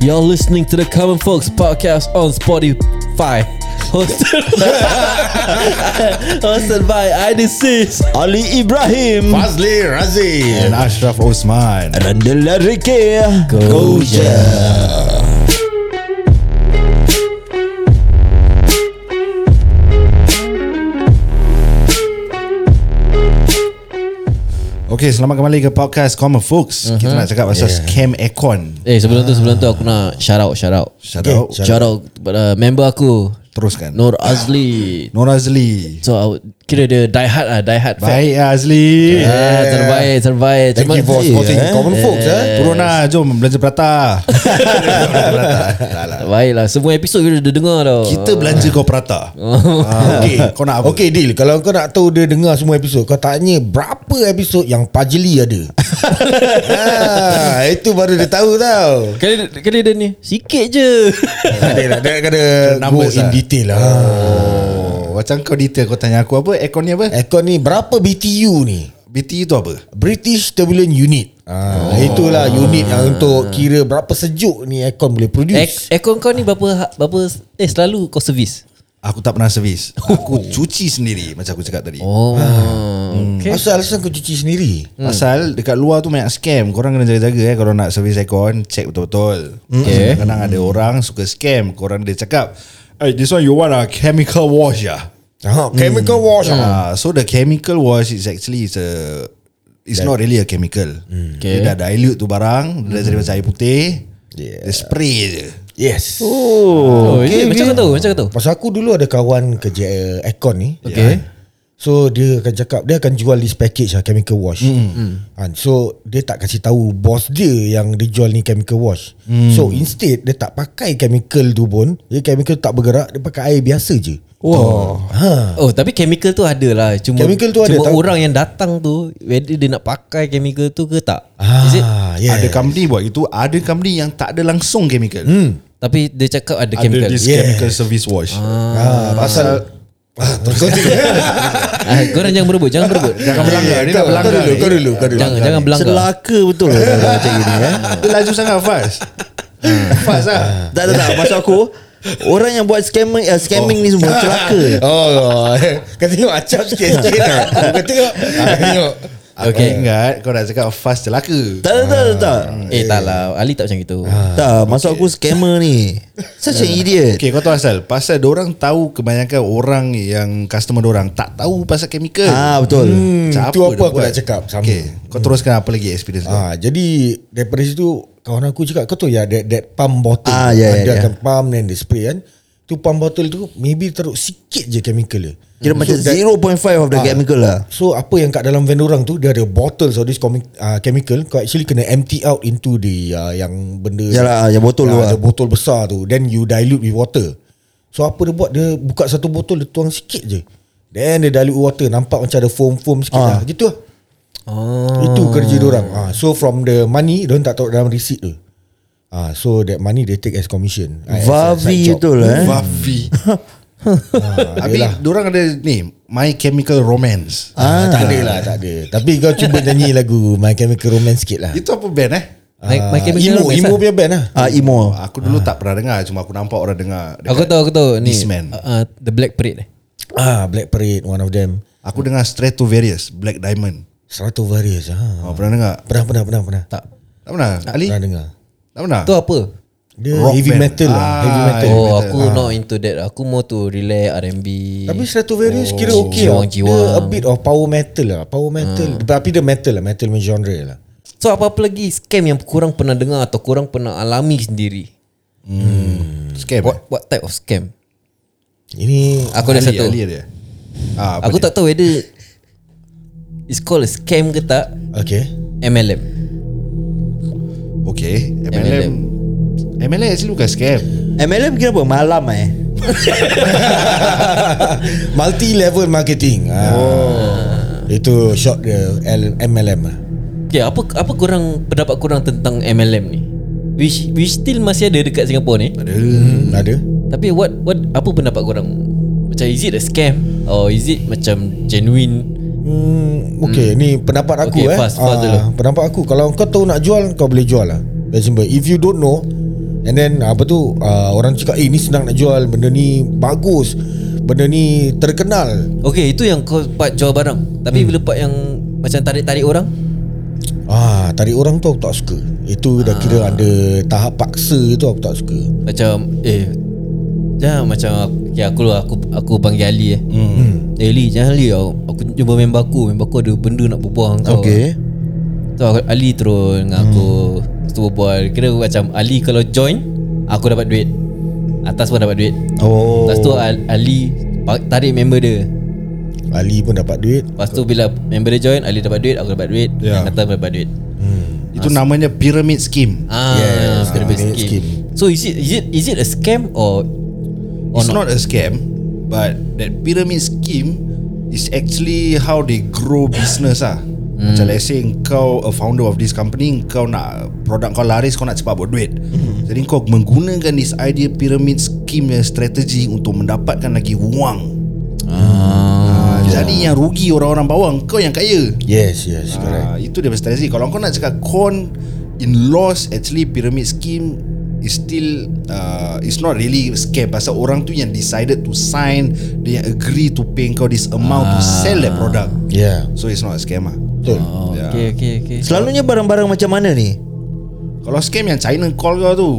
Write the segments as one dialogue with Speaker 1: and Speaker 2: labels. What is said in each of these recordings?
Speaker 1: You're listening to the Common Folks podcast on Spotify. Hosted, hosted by IDCs
Speaker 2: Ali Ibrahim
Speaker 3: Fazli Razif
Speaker 2: dan Ashraf Osman.
Speaker 3: dan Dela Riki
Speaker 2: Go je. Okay, selamat kembali ke podcast Common Folks. Uh-huh. Kita nak cakap pasal yeah. scam aircon.
Speaker 1: Eh sebelum tu sebelum tu aku nak shout out shout out.
Speaker 2: Shout out.
Speaker 1: Shout, out kepada member aku
Speaker 2: Teruskan.
Speaker 1: Nur Azli.
Speaker 2: Nur Azli.
Speaker 1: So I would, kira dia die hard lah die hard. fan.
Speaker 2: Baik Azli.
Speaker 1: Ah,
Speaker 2: Yeah.
Speaker 1: terbaik terbaik.
Speaker 3: Thank you for
Speaker 1: kasih,
Speaker 3: supporting
Speaker 1: eh.
Speaker 3: Common Folks eh.
Speaker 2: Turun lah, jom belanja prata. Belanja prata. Tak lah.
Speaker 1: Baiklah semua episod kita dah dengar tau.
Speaker 2: Kita belanja kau prata. Ah, okay, kau nak apa?
Speaker 3: Eh. Okay deal Kalau kau nak tahu Dia dengar semua episod Kau tanya Berapa episod Yang Pajli ada ha, Itu baru dia tahu tau
Speaker 1: Kali, kali dia ni Sikit je
Speaker 3: Dia nak dia kena Go
Speaker 2: Numbers
Speaker 3: in
Speaker 2: lah.
Speaker 3: detail lah
Speaker 2: Oh, macam kau detail kau tanya aku apa? Aircon ni apa?
Speaker 3: Aircon ni Berapa BTU ni
Speaker 2: BTU tu apa?
Speaker 3: British Turbulent Unit Ah, oh. Itulah unit yang untuk Kira berapa sejuk ni Aircon boleh produce
Speaker 1: Air- Aircon kau ni berapa berapa Eh selalu kau servis
Speaker 2: Aku tak pernah servis. Aku cuci sendiri macam aku cakap tadi.
Speaker 1: Oh okay.
Speaker 3: Asal alasan kau cuci sendiri
Speaker 2: Pasal dekat luar tu banyak scam Korang kena jaga-jaga eh Kalau nak servis aircon Check betul-betul
Speaker 3: Hmm.
Speaker 1: Okay.
Speaker 2: Kadang-kadang ada orang Suka scam Korang dia cakap Hey this one you want a chemical wash ya
Speaker 3: ha, Chemical wash ah.
Speaker 2: uh, So the chemical wash Is actually it's a It's not really a chemical
Speaker 3: Hmm.
Speaker 1: Okay.
Speaker 2: Dia dah dilute tu barang Dia dah jadi macam air putih
Speaker 3: Yeah.
Speaker 2: Dia spray je
Speaker 3: Yes
Speaker 1: Oh, okay, Macam kau tahu Macam kau tahu
Speaker 3: Pasal aku dulu ada kawan kerja eh, aircon ni.
Speaker 1: Okay.
Speaker 3: So dia akan cakap dia akan jual this package lah chemical wash.
Speaker 4: Hmm.
Speaker 3: Mm. So dia tak kasih tahu bos dia yang dia jual ni chemical wash. Mm. So instead dia tak pakai chemical tu pun, dia chemical tak bergerak, dia pakai air biasa je.
Speaker 1: Wow. Ha. Oh tapi chemical tu ada lah Cuma,
Speaker 3: Chemical tu ada,
Speaker 1: cuma
Speaker 3: tak?
Speaker 1: orang yang datang tu Whether dia nak pakai chemical tu ke tak Is it?
Speaker 3: Ah,
Speaker 2: yeah.
Speaker 3: yeah.
Speaker 2: Ada company buat itu Ada company yang tak ada langsung chemical
Speaker 3: Hmm.
Speaker 1: Tapi dia cakap ada
Speaker 2: Ada
Speaker 1: chemical
Speaker 2: this
Speaker 3: Yeah.
Speaker 2: chemical service wash
Speaker 3: ah, pasal ah, terus
Speaker 1: ah, Korang jangan berebut Jangan berebut
Speaker 2: Jangan berlanggar Dia nak
Speaker 3: Kau
Speaker 2: berlanggar
Speaker 3: dulu,
Speaker 2: ni.
Speaker 3: kau dulu, kau dulu.
Speaker 1: Jangan jangan belanggar
Speaker 4: Celaka betul lah kalau macam gini eh.
Speaker 2: Dia laju sangat fast Fast lah
Speaker 4: Tak tak tak Maksud aku Orang yang buat scamming uh, scamming ni semua celaka
Speaker 3: Oh, oh. Kau tengok acap sikit-sikit lah. Kau tengok Kau tengok
Speaker 2: Okay Aku ingat kau nak cakap fast celaka
Speaker 4: Tak tak tak tak, tak
Speaker 1: Eh tak lah Ali tak macam gitu
Speaker 4: Tak Maksud aku scammer ni Such an idiot
Speaker 2: Okay kau tahu asal Pasal orang tahu kebanyakan orang yang customer orang Tak tahu pasal chemical
Speaker 4: Ah betul
Speaker 2: Macam
Speaker 3: Hmm, tu
Speaker 2: dia
Speaker 3: apa aku
Speaker 2: buat?
Speaker 3: nak cakap, sama.
Speaker 2: Okay kau teruskan apa lagi experience kau
Speaker 3: Ah, jadi daripada situ kawan aku cakap kau tu ya that, that pump bottle. Kan
Speaker 4: Ah, ya, ya,
Speaker 3: dia
Speaker 4: ya.
Speaker 3: akan pump then dia spray kan. Tu pump bottle tu maybe taruh sikit je chemical dia.
Speaker 4: Kira macam
Speaker 3: that- Ah.
Speaker 4: 0.5 of the chemical lah
Speaker 3: So apa yang kat dalam van orang tu dia ada bottles of this comic, uh, chemical kau actually kena empty out into the uh, yang benda
Speaker 4: Yalah, yang botol tu
Speaker 3: Ah,
Speaker 4: lah.
Speaker 3: Ada botol besar tu then you dilute with water. So apa dia buat dia buka satu botol dia tuang sikit je. Then dia dilute with water nampak macam ada foam-foam sikit
Speaker 4: Ah.
Speaker 3: lah. Gitu lah.
Speaker 1: Oh
Speaker 3: Itu kerja orang. Ah, so from the money, orang tak taruh dalam receipt tu. Ah, so that money they take as commission. Ah, as a side
Speaker 4: Vavi
Speaker 3: job.
Speaker 4: betul lah eh
Speaker 2: Wafi
Speaker 3: Ah,
Speaker 2: Habis
Speaker 3: yelah.
Speaker 2: orang ada ni My Chemical Romance
Speaker 3: Ah, tak ada lah, tak ada. Tapi kau cuba nyanyi lagu My Chemical Romance sikit lah.
Speaker 2: Itu apa band eh
Speaker 1: My, my
Speaker 3: Ah,
Speaker 1: chemical
Speaker 3: emo,
Speaker 1: romance
Speaker 3: emo
Speaker 1: lah.
Speaker 3: punya band lah.
Speaker 4: Ah emo
Speaker 2: Aku dulu tak pernah dengar Cuma aku nampak orang dengar
Speaker 1: lah.
Speaker 2: dekat-
Speaker 1: Aku tahu aku tahu ni.
Speaker 2: This man.
Speaker 1: Uh, uh, the Black Parade eh.
Speaker 3: Ah, Black Parade, one of them.
Speaker 2: Aku dengar Stratovarius Black Diamond
Speaker 3: Stratovarius. Ah.
Speaker 2: oh, Pernah dengar
Speaker 3: Pernah, pernah, pernah, pernah.
Speaker 1: Tak.
Speaker 2: Tak pernah Ali
Speaker 3: Pernah dengar.
Speaker 2: Tak pernah
Speaker 1: Tu apa?
Speaker 3: Dia
Speaker 2: Rock
Speaker 3: heavy
Speaker 2: band.
Speaker 3: metal lah.
Speaker 2: Ah,
Speaker 3: Heavy metal.
Speaker 2: heavy
Speaker 1: Oh aku not into that. Aku more to relax R&B.
Speaker 3: Tapi Stratovarius kira
Speaker 1: Oh,
Speaker 3: okay lah.
Speaker 1: jiwang-jiwang.
Speaker 3: Dia a bit of power metal lah. Power metal. Tapi dia metal lah. Metal punya genre lah.
Speaker 1: so apa-apa lagi scam yang kurang pernah dengar atau kurang pernah alami sendiri?
Speaker 2: Scam eh?
Speaker 1: What what type of scam?
Speaker 3: Ini
Speaker 1: Aku ada
Speaker 2: Ali,
Speaker 1: satu.
Speaker 2: Ali ada ah, apa
Speaker 1: aku
Speaker 2: dia?
Speaker 1: tak tahu whether it's called a scam ke tak
Speaker 3: Okay
Speaker 1: MLM.
Speaker 2: Okay
Speaker 1: MLM.
Speaker 2: MLM MLM actually bukan scam
Speaker 4: MLM kira apa? Malam eh
Speaker 3: Multi level marketing oh. Itu short dia L- MLM lah
Speaker 1: Okay, apa apa kurang pendapat kurang tentang MLM ni? Which which still masih ada dekat Singapura ni.
Speaker 3: Ada Hmm, Ada
Speaker 1: Tapi what what apa pendapat korang? Macam is it a scam or is it macam genuine?
Speaker 3: hmm, Okay ni pendapat aku
Speaker 1: Okay,
Speaker 3: eh
Speaker 1: fast, fast
Speaker 3: Ah,
Speaker 1: dulu.
Speaker 3: Pendapat aku Kalau kau tahu nak jual Kau boleh jual lah Very simple If you don't know And then apa tu uh, Orang cakap Eh ni senang nak jual Benda ni bagus Benda ni terkenal
Speaker 1: Okay itu yang kau part jual barang Tapi hmm. bila part yang Macam tarik-tarik orang
Speaker 3: Ah, Tarik orang tu aku tak suka Itu dah kira ada Tahap paksa tu aku tak suka
Speaker 1: Macam Eh Jangan macam okay, aku lah aku, aku panggil Ali eh hmm. Eh Ali jangan Ali aku, aku jumpa member aku Member aku ada benda nak berbual dengan kau
Speaker 4: Okay
Speaker 1: Tu aku, Ali terus dengan aku Lepas tu berbual Kira macam Ali kalau join Aku dapat duit Atas pun dapat duit
Speaker 4: Oh
Speaker 1: Lepas tu Al- Ali pa- Tarik member dia
Speaker 3: Ali pun dapat duit
Speaker 1: Lepas tu bila member dia join Ali dapat duit Aku dapat duit
Speaker 2: Ya.
Speaker 1: Yang atas dapat duit
Speaker 2: Itu namanya pyramid scheme.
Speaker 1: Ah,
Speaker 3: Yes,
Speaker 1: pyramid
Speaker 3: pyramid
Speaker 1: scheme.
Speaker 3: scheme.
Speaker 1: So is it is it is it a scam or or
Speaker 2: It's not a scam, but that pyramid scheme is actually how they grow business ah.
Speaker 1: Hmm.
Speaker 2: Macam let's say kau a founder of this company Kau nak produk kau laris Kau nak cepat buat duit
Speaker 1: Hmm.
Speaker 2: Jadi kau menggunakan this idea pyramid scheme yang strategi Untuk mendapatkan lagi wang ah, Jadi yang rugi orang-orang bawang Kau yang kaya
Speaker 3: Yes yes correct
Speaker 2: Ah, itu dia punya strategi. Kalau kau nak cakap con in laws actually pyramid scheme is still uh, it's not really scam pasal orang tu yang decided to sign they agree to pay kau this amount to sell that product.
Speaker 3: Yeah
Speaker 2: So it's not a scam ah.
Speaker 3: Ya, Betul
Speaker 1: Oh, okay, okay, okay.
Speaker 4: Selalunya barang-barang macam mana ni?
Speaker 2: Kalau scam yang China call kau tu.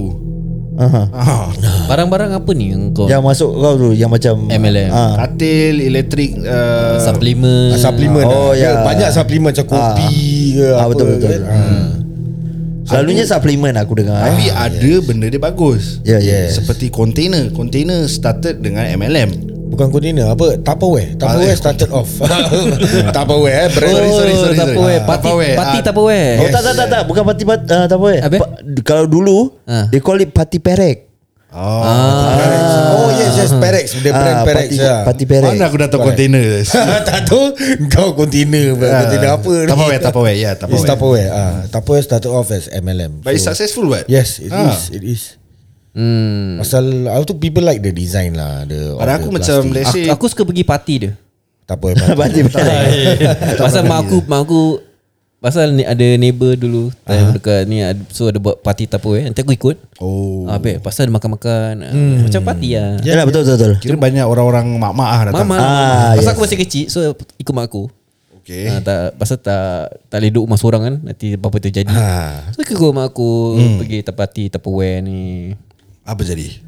Speaker 4: Aha.
Speaker 2: Ah,
Speaker 1: Barang-barang apa ni yang kau?
Speaker 4: Yang masuk kau tu Yang macam
Speaker 1: MLM.
Speaker 4: Ah.
Speaker 2: katil elektrik uh,
Speaker 1: Suplemen.
Speaker 3: Ah, Suplemen lah.
Speaker 4: Oh,
Speaker 3: Dia
Speaker 4: ya.
Speaker 3: Banyak suplemen macam kopi ke
Speaker 4: Ah,
Speaker 3: apa
Speaker 4: betul, betul.
Speaker 3: kan. Ah.
Speaker 4: Selalunya suplemen aku dengar eh.
Speaker 2: tapi ada benda dia bagus.
Speaker 4: Ya, yes.
Speaker 2: Seperti container. Container started dengan MLM.
Speaker 3: Bukan container apa Tupperware Tupperware
Speaker 2: eh, Ah.
Speaker 3: started off Tupperware eh,
Speaker 1: Oh,
Speaker 3: brand
Speaker 2: Sorry, sorry, sorry, sorry.
Speaker 1: Tupperware.
Speaker 2: Ah,
Speaker 1: Party,
Speaker 2: Tupperware.
Speaker 1: party
Speaker 2: Ah.
Speaker 1: Tupperware.
Speaker 4: Oh tak tak tak, tak. Bukan parti pat, uh, tak apa eh.
Speaker 1: Apa?
Speaker 4: Pa, kalau dulu
Speaker 1: Ah.
Speaker 4: They call it parti perek
Speaker 2: Oh.
Speaker 3: Parex. Oh yes yes Perex The brand
Speaker 4: Ah,
Speaker 3: Perex
Speaker 4: parti,
Speaker 3: ya.
Speaker 4: parti perek
Speaker 2: Mana aku dah tahu
Speaker 3: Correct.
Speaker 2: container
Speaker 3: Tak tahu Kau container
Speaker 2: Ah,
Speaker 3: Container apa ni
Speaker 2: Tupperware Tupperare Ya
Speaker 3: It's
Speaker 2: Tupperware
Speaker 3: Tupperware ah, Tupperware started off as MLM
Speaker 2: But it's successful what?
Speaker 3: Yes it
Speaker 2: Ah.
Speaker 3: is It is Hmm. Pasal Aku tu people like the design lah the,
Speaker 2: Pada aku macam
Speaker 1: Aku,
Speaker 2: Let's say
Speaker 1: aku suka pergi party dia.
Speaker 3: Tupperware party.
Speaker 4: Parti perek
Speaker 1: pasal mak aku, mak aku pasal ni ada neighbor dulu time dekat ni ada- so ada buat party Tupperware. Nanti aku ikut.
Speaker 2: Oh
Speaker 1: Ah, Apa? Pasal makan-makan. Hmm. Macam party lah.
Speaker 4: Ya betul betul betul
Speaker 2: Kira banyak orang-orang mak-mak ah Eh. datang
Speaker 1: Mama.
Speaker 4: Ah,
Speaker 1: pasal
Speaker 4: yes.
Speaker 1: aku masih kecil so ikut mak aku.
Speaker 2: Okay
Speaker 1: Ha,
Speaker 3: Ah.
Speaker 1: tak, pasal tak tak boleh duduk rumah seorang kan Nanti apa-apa terjadi
Speaker 3: Ah.
Speaker 2: Ah,
Speaker 1: ha. So ikut rumah aku hmm. Pergi tapati Tupperware ni
Speaker 2: Apa jadi?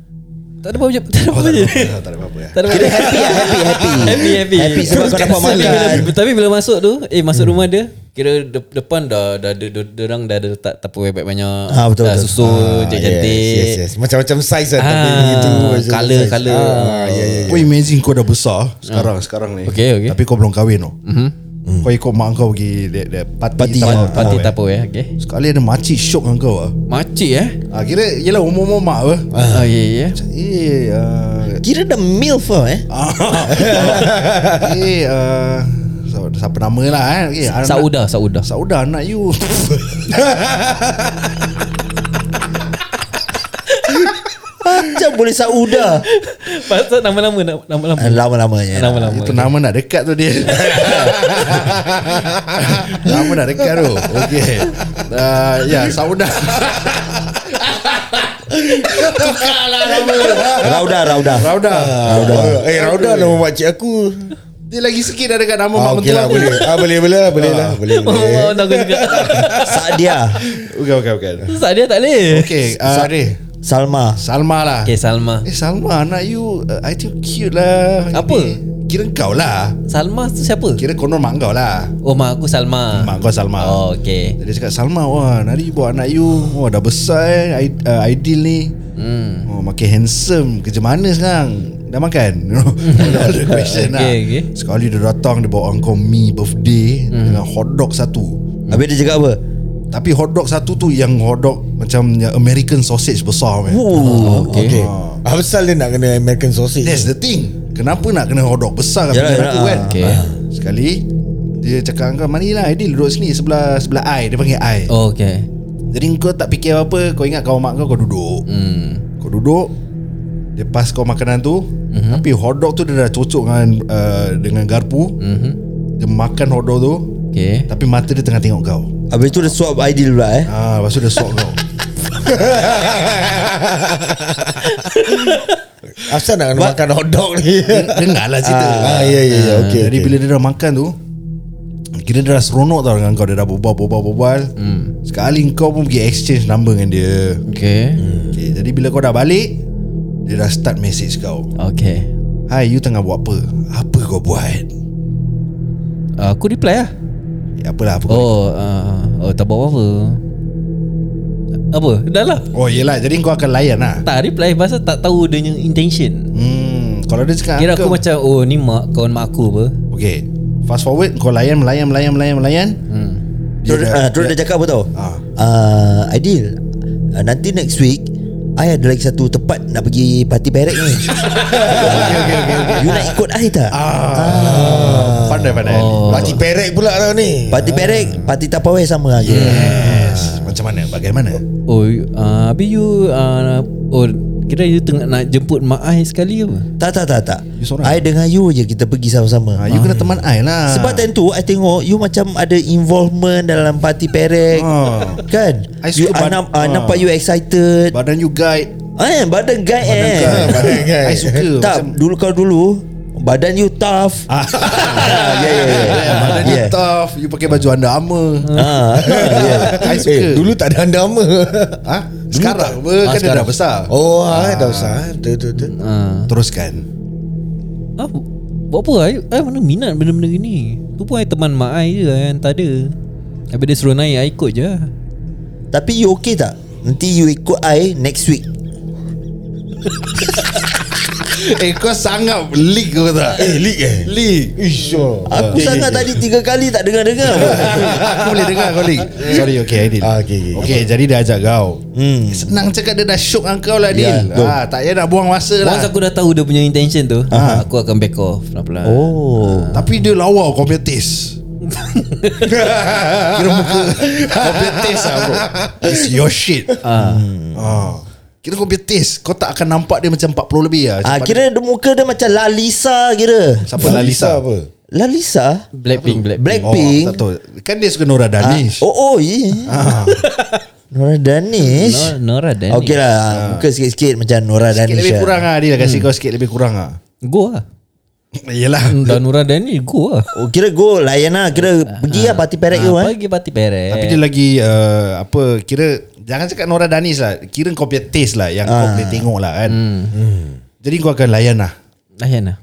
Speaker 1: Tak ada apa-apa Tak ada apa-apa je.
Speaker 2: Ah, Tak ada apa-apa ya
Speaker 1: Tak ada Kira happy lah Happy Happy Happy Happy,
Speaker 4: Happy sebab kau dapat
Speaker 1: Tapi
Speaker 4: makan.
Speaker 1: bila, Tapi bila masuk tu Eh masuk hmm. rumah dia Kira de- depan dah dah ada de- Derang dah ada letak Tupperware banyak
Speaker 4: Ah, betul,
Speaker 1: Dah
Speaker 4: betul.
Speaker 1: susul
Speaker 3: Ah,
Speaker 1: Cantik-cantik
Speaker 3: yes, yes, yes. Macam-macam size lah Tapi
Speaker 1: Ah,
Speaker 3: itu macam
Speaker 1: colour,
Speaker 3: size.
Speaker 1: colour.
Speaker 3: ah, yeah, yeah, yeah.
Speaker 2: Kau imagine kau
Speaker 3: Ah.
Speaker 2: dah besar Sekarang sekarang ni
Speaker 1: Okay, okay.
Speaker 2: Tapi kau belum kahwin tau
Speaker 3: Mm-hmm.
Speaker 2: Kau ikut mak kau pergi that- that Party
Speaker 4: Party,
Speaker 3: ah,
Speaker 2: Tupperware.
Speaker 1: Party Tupperware okay.
Speaker 2: Sekali ada makcik syok dengan kau ah.
Speaker 1: Makcik eh
Speaker 2: Ah, Kira Yelah umur-umur mak apa
Speaker 1: Ah, ya, ya.
Speaker 2: Eh ah,
Speaker 4: Kira dah milf lah eh
Speaker 2: Eh ah, so- Siapa nama lah eh okay, anak-
Speaker 1: Sauda, Sauda.
Speaker 2: Sauda anak you
Speaker 4: Macam boleh sauda
Speaker 1: Pasal nama-nama, nama-nama.
Speaker 4: Ah, Lama-lamanya
Speaker 1: Nama-nama.
Speaker 2: Itu nama nak dekat tu dia Nama nak dekat tu Okay uh, Ya Sauda
Speaker 1: lah
Speaker 4: Rauda Rauda
Speaker 2: Rauda
Speaker 3: Rauda. Eh Rauda nama makcik aku
Speaker 2: Dia lagi sikit dah dekat nama
Speaker 3: ah,
Speaker 2: mak
Speaker 3: okay
Speaker 2: mentua
Speaker 3: lah
Speaker 2: aku
Speaker 3: boleh ah, Boleh boleh lah Boleh lah Boleh boleh
Speaker 1: Oh, nak aku juga.
Speaker 4: Sadia
Speaker 2: Bukan bukan bukan
Speaker 3: Eh,
Speaker 1: Ustaz dia tak boleh.
Speaker 2: Okay uh, Ari
Speaker 4: Salma
Speaker 2: Salma lah
Speaker 1: Okay, Salma.
Speaker 2: Eh Salma anak you uh, I think cute lah
Speaker 1: Apa?
Speaker 2: Ini. Kira kau lah
Speaker 1: Salma tu siapa?
Speaker 2: Kira konon mak kau lah
Speaker 1: Oh, mak aku Salma.
Speaker 2: Mak kau Salma
Speaker 1: Oh, okay.
Speaker 2: Dia cakap Salma Wah nari buat anak you Wah dah besar eh I- uh, Ideal ni
Speaker 1: Hmm.
Speaker 2: Oh makin handsome Kerja mana sekarang Dah makan Dah ada question lah
Speaker 1: Okay, okay. Hmm.
Speaker 2: Sekali dia datang Dia bawa kau mi birthday Dengan hotdog satu
Speaker 4: Habis dia cakap apa
Speaker 2: Tapi hotdog satu tu Yang hotdog Macam yang American sausage besar man.
Speaker 4: Oh
Speaker 3: Okay ah, Pasal dia nak kena American sausage
Speaker 2: That's the thing Kenapa nak kena hotdog besar kat
Speaker 4: Yalah,
Speaker 2: pikiran aku
Speaker 4: yalah.
Speaker 2: kan
Speaker 1: Okay.
Speaker 2: Sekali Dia cakap dengan kau Marilah Aidil lah? duduk sini Sebelah sebelah I Dia panggil I
Speaker 1: Oh, okay.
Speaker 2: Jadi kau tak fikir apa-apa Kau ingat kau mak kau Kau duduk
Speaker 1: Hmm.
Speaker 2: Kau duduk Dia pas kau makanan tu mm-hmm. Tapi hotdog tu dia dah cocok dengan uh, Dengan garpu
Speaker 1: Mhm.
Speaker 2: Dia makan hotdog tu
Speaker 1: Okay.
Speaker 2: Tapi mata dia tengah tengok kau
Speaker 4: Habis tu dia swap ideal pula eh
Speaker 2: Ah, Lepas tu dia sok kau
Speaker 3: Asal nak Ma- makan hotdog ni
Speaker 2: Dengarlah cerita
Speaker 3: Ah, ah, ya, ya, ya. Okey,
Speaker 2: Jadi
Speaker 3: okey.
Speaker 2: bila dia dah makan tu Kira dia dah seronok tau dengan kau Dia dah berbual-berbual-berbual Sekali kau pun pergi exchange number dengan dia
Speaker 1: Okay
Speaker 2: okay, Jadi bila kau dah balik Dia dah start message kau
Speaker 1: Okay
Speaker 2: Hai you tengah buat apa? Apa kau buat?
Speaker 1: uh, Aku reply lah
Speaker 2: Ya, apalah apa kau
Speaker 1: Oh uh, Oh tak buat apa Apa Dah lah
Speaker 2: Oh yelah Jadi kau akan layan lah
Speaker 1: Tak reply Pasal tak tahu Dia punya intention
Speaker 2: Hmm Kalau dia cakap
Speaker 1: Kira aku
Speaker 2: uncle-
Speaker 1: macam Oh ni mak Kawan mak aku apa
Speaker 2: Okay Fast forward Kau layan melayan melayan melayan melayan
Speaker 1: hmm.
Speaker 4: Terus dia, ah, terus dia cakap apa tau
Speaker 2: Ah.
Speaker 4: Ah, Aidil ah, Nanti next week I ada lagi satu tempat Nak pergi party barrack ni okay, okay, okay, okay. You nak ikut I tak?
Speaker 2: ah. Pandai pandai
Speaker 1: Oh.
Speaker 3: Pakcik perek pula tau ni
Speaker 4: Party barrack Party tapawai sama lah aja yeah.
Speaker 2: Yes Macam mana Bagaimana
Speaker 1: Oh uh, Habis you uh, Oh Kira you tengah nak jemput Mak I sekali apa
Speaker 4: Tak tak tak tak
Speaker 2: You seorang?
Speaker 4: I dengan you je Kita pergi sama-sama
Speaker 2: ah, You kena teman I lah
Speaker 4: Sebab time tu I tengok You macam ada involvement Dalam party perek
Speaker 2: Ah.
Speaker 4: Kan
Speaker 2: I
Speaker 4: you,
Speaker 2: suka
Speaker 4: I,
Speaker 2: bad-
Speaker 4: nam, I
Speaker 2: ah.
Speaker 4: nampak you excited
Speaker 2: Badan you guide
Speaker 4: Eh badan guy eh
Speaker 2: guy, badan guy. I suka
Speaker 4: Tak
Speaker 2: macam-
Speaker 4: dulu kau dulu Badan you tough ah. Ya ya ya
Speaker 2: Badan you
Speaker 4: Yeah.
Speaker 2: tough You pakai baju anda armor
Speaker 4: Ah, yeah.
Speaker 2: I suka
Speaker 3: Eh, dulu tak ada Ah, andama
Speaker 2: ha? Sekarang apa
Speaker 1: Ah,
Speaker 2: Kan dia dah besar
Speaker 3: Oh
Speaker 2: Oh,
Speaker 3: ah. dah usah Betul betul betul
Speaker 1: uh,
Speaker 2: Teruskan
Speaker 1: ah, Buat apa I, I mana minat benda-benda gini Tu pun I teman Mak I je I hantar dia Habis dia suruh naik I ikut je lah.
Speaker 4: Tapi you okay tak? Nanti you ikut I next week
Speaker 2: Eh kau sangat Leak kau tak
Speaker 3: Eh leak eh
Speaker 2: Leak
Speaker 3: Isyur
Speaker 4: Aku sangat tadi tiga kali tak dengar-dengar pun.
Speaker 2: Aku boleh dengar kau Lik Sorry okay Aidil
Speaker 3: Ah, okay, okay.
Speaker 2: okay jadi dia ajak kau hmm. Senang cakap dia dah syok dengan kau lah Adil
Speaker 4: Ya, betul.
Speaker 2: ah, Tak payah nak buang masa lah
Speaker 1: Once aku dah tahu dia punya intention tu uh Aku akan back off pelan-pelan
Speaker 4: Oh
Speaker 2: Tapi dia lawa kau punya taste Kira muka Kau punya taste lah bro It's your shit ah. Ah. Kira kau punya taste Kau tak akan nampak dia macam 40 lebih lah
Speaker 4: ah,
Speaker 2: Cepat-
Speaker 4: Kira dia muka dia macam Lalisa kira
Speaker 2: Siapa lah, Lalisa
Speaker 3: apa
Speaker 4: Lalisa?
Speaker 1: Blackpink Blackpink
Speaker 4: Black-
Speaker 2: Oh
Speaker 4: Pink.
Speaker 2: tak tahu Kan dia suka Nora Danish
Speaker 4: Ah, oh oh ye. Ah. Nora Danish.
Speaker 1: Nora, Nora Danish
Speaker 4: Okey lah Muka sikit-sikit macam Nora
Speaker 2: Sikit
Speaker 4: Danish
Speaker 2: lebih
Speaker 4: lah.
Speaker 2: kurang lah Adil Kasih kau sikit lebih kurang lah Hmm.
Speaker 1: Go lah
Speaker 2: Yelah
Speaker 1: Dan Nora Danish go lah
Speaker 4: Oh kira go layan lah Kira pergi lah party parade tu eh
Speaker 1: Ah, Pergi parti perek
Speaker 2: Tapi dia lagi uh, apa kira jangan cakap Nora Danis lah. Kira kau punya taste lah yang kau boleh tengok lah kan. Hmm. Jadi kau akan layan lah.
Speaker 1: Layan lah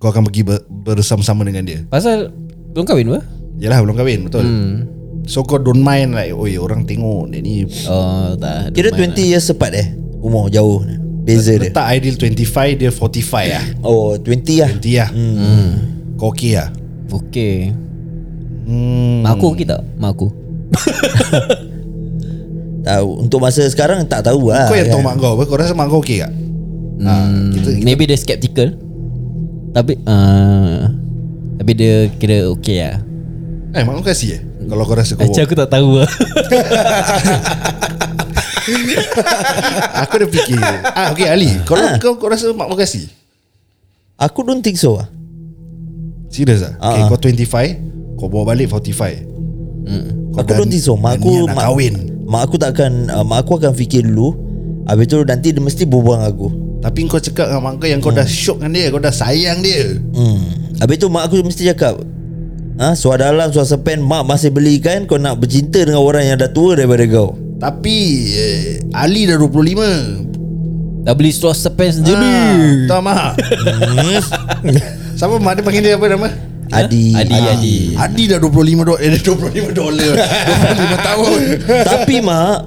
Speaker 2: Kau akan pergi ber, bersama-sama dengan dia.
Speaker 1: Pasal Belum kahwin apa?
Speaker 2: Yalah belum kahwin betul. Hmm. So kau don't mind like oi orang tengok dia ni
Speaker 1: Oh tak
Speaker 4: Kira 20 years sepat eh Umur jauh Beza dia
Speaker 2: letak ideal 25 dia 45 lah.
Speaker 4: Oh 20 lah
Speaker 2: 20 lah. Hmm. Kau okey lah.
Speaker 1: Okay
Speaker 2: Hmm.
Speaker 1: Mak aku okey tak? Mak aku
Speaker 4: Tahu Ah, Untuk masa sekarang tak tahu lah
Speaker 2: Kau yang tahu
Speaker 4: kan.
Speaker 2: mak kau apa? Kau rasa mak kau okey tak?
Speaker 1: hmm,
Speaker 2: kita- kita-
Speaker 1: Maybe dia skeptical Tapi uh, Tapi dia kira okay lah
Speaker 2: Eh mak kau kasih eh? Kalau kau rasa kau
Speaker 1: Macam aku tak tahu lah
Speaker 2: Aku dah fikir ah, Okay Ali Kau, kau, kau rasa mak kau kasih?
Speaker 4: Aku don't think so lah
Speaker 2: Serius ah? Okay,
Speaker 4: Ah, ah.
Speaker 2: kau 25, kau bawa balik 45. Kau
Speaker 4: Aku don't think so
Speaker 2: dah
Speaker 4: Mak aku
Speaker 2: niat nak
Speaker 4: mak,
Speaker 2: kahwin.
Speaker 4: mak aku tak akan uh, Mak aku akan fikir dulu Habis tu nanti dia mesti berbuang aku
Speaker 2: Tapi kau cakap dengan mak kau yang kau dah syok dengan dia, kau dah sayang dia.
Speaker 4: hmm. Habis tu mak aku mesti cakap Ha, suar dalam, suar sepen Mak masih belikan Kau nak bercinta dengan orang yang dah tua daripada kau
Speaker 2: Tapi eh, Ali dah 25.
Speaker 1: Dah beli straw pants
Speaker 2: Jadi,
Speaker 1: sendiri
Speaker 2: tahu Ah, mak. Siapa mak dia panggil dia apa nama?
Speaker 4: Adi Ah.
Speaker 1: Adi, Adi.
Speaker 2: Adi dah 25 dolar, eh, dia 25 dolar. 25 tahun.
Speaker 4: Tapi mak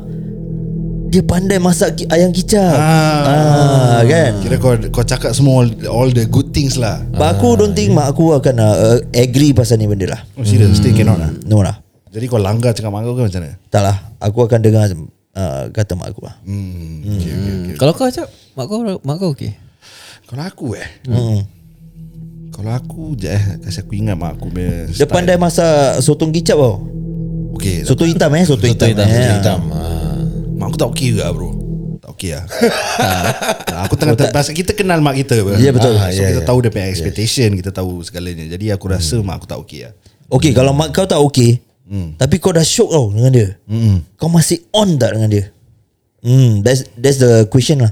Speaker 4: Dia pandai masak ki- ayam kicap ah. ah kan
Speaker 2: Kira kau kau cakap semua all, all the good things lah.
Speaker 4: Mak aku don't think mak aku akan uh, agree pasal ni benda lah
Speaker 2: Oh, serius, still cannot lah.
Speaker 4: No lah
Speaker 2: Jadi kau langgar cakap mak kau ke macam mana?
Speaker 4: Tak lah Aku akan dengar uh, kata mak aku lah
Speaker 2: Hmm. Okay, okay, okay.
Speaker 1: Kalau kau cakap Mak kau Mak kau okey
Speaker 2: Kalau aku eh,
Speaker 4: hmm.
Speaker 2: Kalau aku je eh Kasi aku ingat mak aku punya
Speaker 4: Dia pandai masak sotong kicap tau
Speaker 2: Okay so,
Speaker 4: Sotong hitam eh Sotong, hitam,
Speaker 1: hitam,
Speaker 4: eh.
Speaker 1: sotong
Speaker 3: Hitam Ah.
Speaker 2: Mak aku tak okay ke bro Tak okay lah Tak, Aku tengah tak, pasal Kita kenal mak kita apa.
Speaker 4: Ya, betul.
Speaker 2: ah, So
Speaker 3: Ya,
Speaker 2: kita
Speaker 3: ya.
Speaker 2: tahu dia punya expectation Kita tahu segalanya Jadi aku rasa mak aku tak okay lah
Speaker 4: Okay kalau
Speaker 2: Hmm.
Speaker 4: mak kau tak okay Tapi kau dah syok tau dengan dia Kau masih on tak dengan dia Hmm, that's that's the question lah.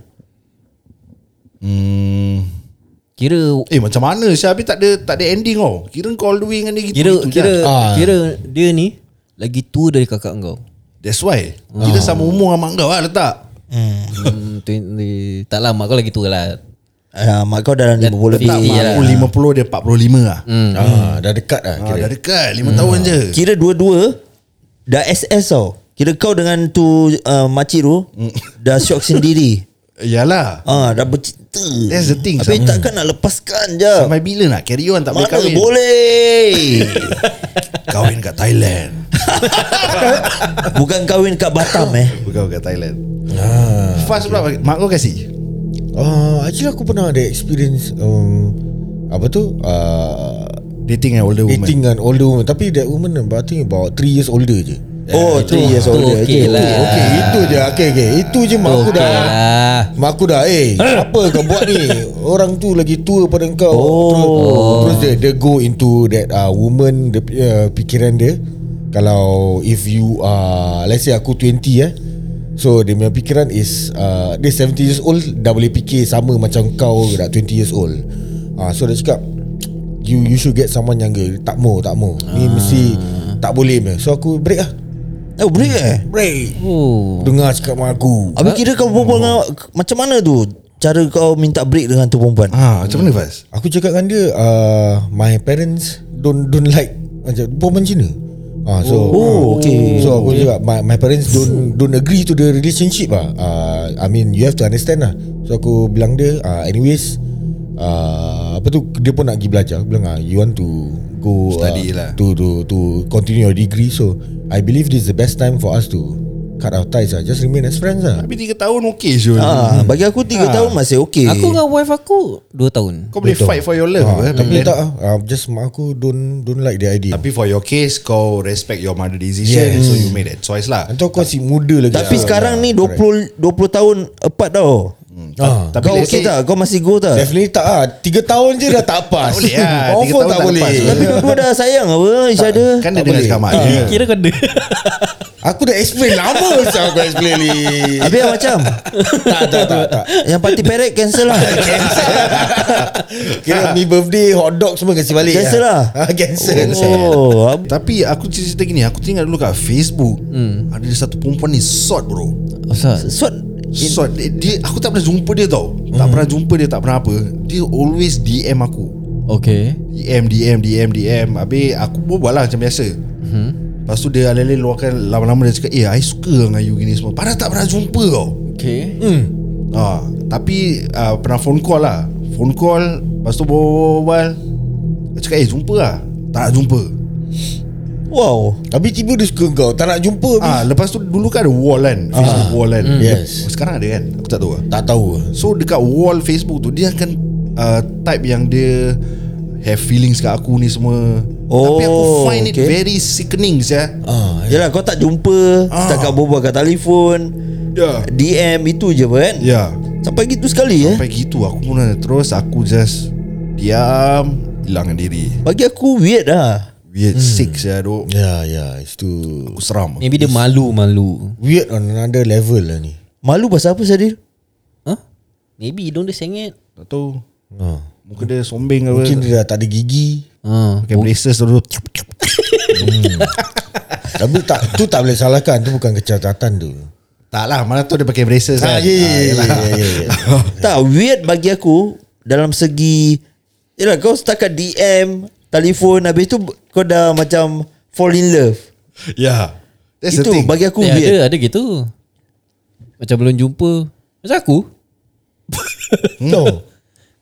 Speaker 2: Hmm.
Speaker 1: Kira
Speaker 2: Eh macam mana Syah Habis tak ada Tak ada ending tau Kira kau all the way dengan dia gitu
Speaker 1: Kira
Speaker 2: gitu kan? je.
Speaker 1: kira
Speaker 3: Ah.
Speaker 1: kira dia ni lagi tua dari kakak kau.
Speaker 2: That's why Kita sama umur dengan mak kau lah letak
Speaker 1: Hmm, 20, tak lama kau lagi tua lah.
Speaker 4: Uh, mak kau dalam 50 lebih. ya.
Speaker 2: Letak mak aku 50 Dia 45 lah
Speaker 3: Hmm. Ah, dah dekat lah
Speaker 2: ha,
Speaker 3: kira.
Speaker 2: Dah dekat 5 tahun je
Speaker 4: Kira dua-dua dah SS tau. Kira kau dengan tu uh, makcik tu
Speaker 2: Hmm.
Speaker 4: dah syok sendiri.
Speaker 2: Yalah
Speaker 4: Ah, dah bercinta.
Speaker 2: That's the thing,
Speaker 4: Tapi
Speaker 2: Sam.
Speaker 4: takkan nak lepaskan je.
Speaker 2: Sampai bila nak carry on Tak boleh
Speaker 4: Ah. Mana
Speaker 2: kahwin Eh,
Speaker 4: boleh?
Speaker 2: Kahwin kat Thailand
Speaker 4: Bukan kahwin kat Batam eh.
Speaker 2: Bukan kat Thailand Fast pula Mak kau kasih
Speaker 3: Ah, actually aku pernah ada experience um, apa tu? Ah,
Speaker 2: Dating dengan older woman
Speaker 3: dating dengan older woman tapi that woman about, I think about 3 years older je.
Speaker 2: Eh,
Speaker 3: Eh,
Speaker 4: Oh, three years
Speaker 1: tu
Speaker 4: older.
Speaker 1: okey
Speaker 4: Okay
Speaker 1: lah.
Speaker 4: lah.
Speaker 3: Okay, itu je. Okay, okay. Itu je mak aku dah.
Speaker 1: Okey lah.
Speaker 3: Mak aku dah Eh apa kau buat ni Orang tu lagi tua pada kau oh. Terus, terus dia, dia go into That uh, woman dia, punya Pikiran dia Kalau If you are Let's say aku 20 eh So dia punya pikiran is uh, Dia 70 years old Dah boleh fikir sama macam kau Dah 20 years old uh, So dia cakap You you should get someone younger Tak mau tak mau Ni mesti Tak boleh punya. So aku break lah
Speaker 4: Oh, boleh eh?
Speaker 3: Break
Speaker 1: Oh.
Speaker 3: Dengar cakap mak aku
Speaker 4: Habis kira kau perempuan dengan, Macam mana tu Cara kau minta break dengan tu perempuan
Speaker 2: Ha, macam mana Faz?
Speaker 3: Aku cakap dengan dia uh, My parents Don't don't like Macam perempuan Cina Ah, so
Speaker 4: Oh, okay.
Speaker 3: So aku cakap my, my parents don't don't agree to the relationship ah. Uh, I mean you have to understand lah. So aku bilang dia uh, anyways uh, apa tu dia pun nak pergi belajar. Aku bilang ah you want to go ah,
Speaker 2: Study lah.
Speaker 3: to to to continue your degree. So I believe this is the best time for us to cut our ties ah. Just remain as friends ah.
Speaker 2: Habis 3 tahun okey je
Speaker 4: ah, Bagi aku 3 tahun masih okey
Speaker 1: Aku dengan wife aku 2 tahun.
Speaker 2: Kau boleh
Speaker 3: Betul.
Speaker 2: fight for your love
Speaker 3: Ah,
Speaker 2: eh,
Speaker 3: tapi
Speaker 4: Mm.
Speaker 2: Thailand.
Speaker 3: tak ah. Uh, just mak aku don't don't like the idea.
Speaker 2: Tapi for your case Kau respect your mother decision
Speaker 3: Yes.
Speaker 2: So you made that choice lah
Speaker 3: Entah kau si muda lagi
Speaker 4: Tapi
Speaker 3: Ah,
Speaker 4: sekarang
Speaker 3: ah,
Speaker 4: ni
Speaker 3: correct.
Speaker 4: 20 20 tahun apart tau
Speaker 3: Ah.
Speaker 2: Hmm, Tapi
Speaker 4: Kau
Speaker 2: let's
Speaker 4: okey
Speaker 2: say-
Speaker 4: tak Kau masih go tak
Speaker 3: Definitely tak ah. Tiga tahun je dah tak pas.
Speaker 2: Tak boleh lah.
Speaker 3: Confirm
Speaker 2: Tiga tahun
Speaker 3: tak
Speaker 2: tak
Speaker 3: boleh.
Speaker 2: pas.
Speaker 4: Tapi dua-dua dah sayang apa Each other
Speaker 2: Kan dia dengar cakap mak dia
Speaker 1: Kira kau ada.
Speaker 3: Aku dah explain lama saya aku explain ni.
Speaker 4: Habis yang macam
Speaker 3: tak tak tak tak.
Speaker 4: Yang party parade cancel lah
Speaker 3: Kira mi birthday hot dog semua kasi balik.
Speaker 4: Cancel lah.
Speaker 3: Ah, cancel.
Speaker 4: Oh ab-
Speaker 2: Tapi aku cerita gini Aku tengok dulu kat Facebook Ada satu perempuan ni Sot bro
Speaker 1: Asal.
Speaker 4: Swat
Speaker 2: Sot dia, dia, Aku tak pernah jumpa dia tau Tak pernah jumpa dia Tak pernah apa Dia always DM aku
Speaker 1: Okay.
Speaker 2: DM DM DM DM Habis aku berbual lah macam biasa
Speaker 4: Hmm.
Speaker 2: Lepas tu dia alih-alih luahkan Lama-lama dia cakap Eh I suka dengan you gini semua Padahal tak pernah jumpa tau
Speaker 1: Okay.
Speaker 2: Ah, tapi ah, pernah phone call lah. Phone call, lepas tu berbual. Dia Cakap eh jumpa lah. Tak nak jumpa.
Speaker 4: Wow
Speaker 3: Tapi tiba dia suka kau Tak nak jumpa habis.
Speaker 2: Ah, lepas tu dulu kan ada wall kan,
Speaker 4: Ah,
Speaker 2: Facebook wall kan.
Speaker 4: hmm,
Speaker 3: yes.
Speaker 2: Sekarang ada kan? Aku tak tahu lah.
Speaker 3: Tak tahu
Speaker 2: So dekat wall Facebook tu dia akan uh, type yang dia have feelings kat aku ni semua.
Speaker 4: Oh,
Speaker 2: tapi aku find it
Speaker 4: okay.
Speaker 2: very sickening ya.
Speaker 3: ah.
Speaker 4: Yelah kau tak jumpa Setakat berbual kat telefon
Speaker 2: Ya.
Speaker 4: DM itu je apa kan
Speaker 2: Ya.
Speaker 3: Eh?
Speaker 4: Sampai gitu sekali eh
Speaker 2: Sampai gitu aku pun ada. terus aku just diam, hilangkan diri.
Speaker 4: Bagi aku weird lah
Speaker 2: Weird
Speaker 3: Hmm.
Speaker 2: sick ya, duk.
Speaker 3: Ya ya It's too
Speaker 2: Aku seram.
Speaker 1: Maybe dia malu-malu.
Speaker 3: Weird on another level lah ni
Speaker 4: Malu pasal apa Sadil?
Speaker 1: Huh? Maybe hidung dia sengit.
Speaker 2: Tak tahu.
Speaker 3: ah.
Speaker 2: Muka dia sombeng apa
Speaker 3: Mungkin dia dah tak ada gigi
Speaker 1: Ha.
Speaker 2: Pakai braces dulu
Speaker 3: Tapi tak tu tak boleh salahkan Tu bukan kecacatan tu
Speaker 2: Tak lah Mana tu dia pakai braces
Speaker 3: Ah,
Speaker 2: kan
Speaker 3: ya, ya, ya, ya, ya, ya.
Speaker 4: Tak weird bagi aku Dalam segi Yelah kau setakat DM Telefon Habis tu kau dah macam Fall in love
Speaker 2: Yeah That's
Speaker 4: Itu
Speaker 2: the thing
Speaker 4: bagi aku
Speaker 1: Eh,
Speaker 4: weird
Speaker 1: ada, ada gitu. Macam belum jumpa. Macam aku.
Speaker 3: No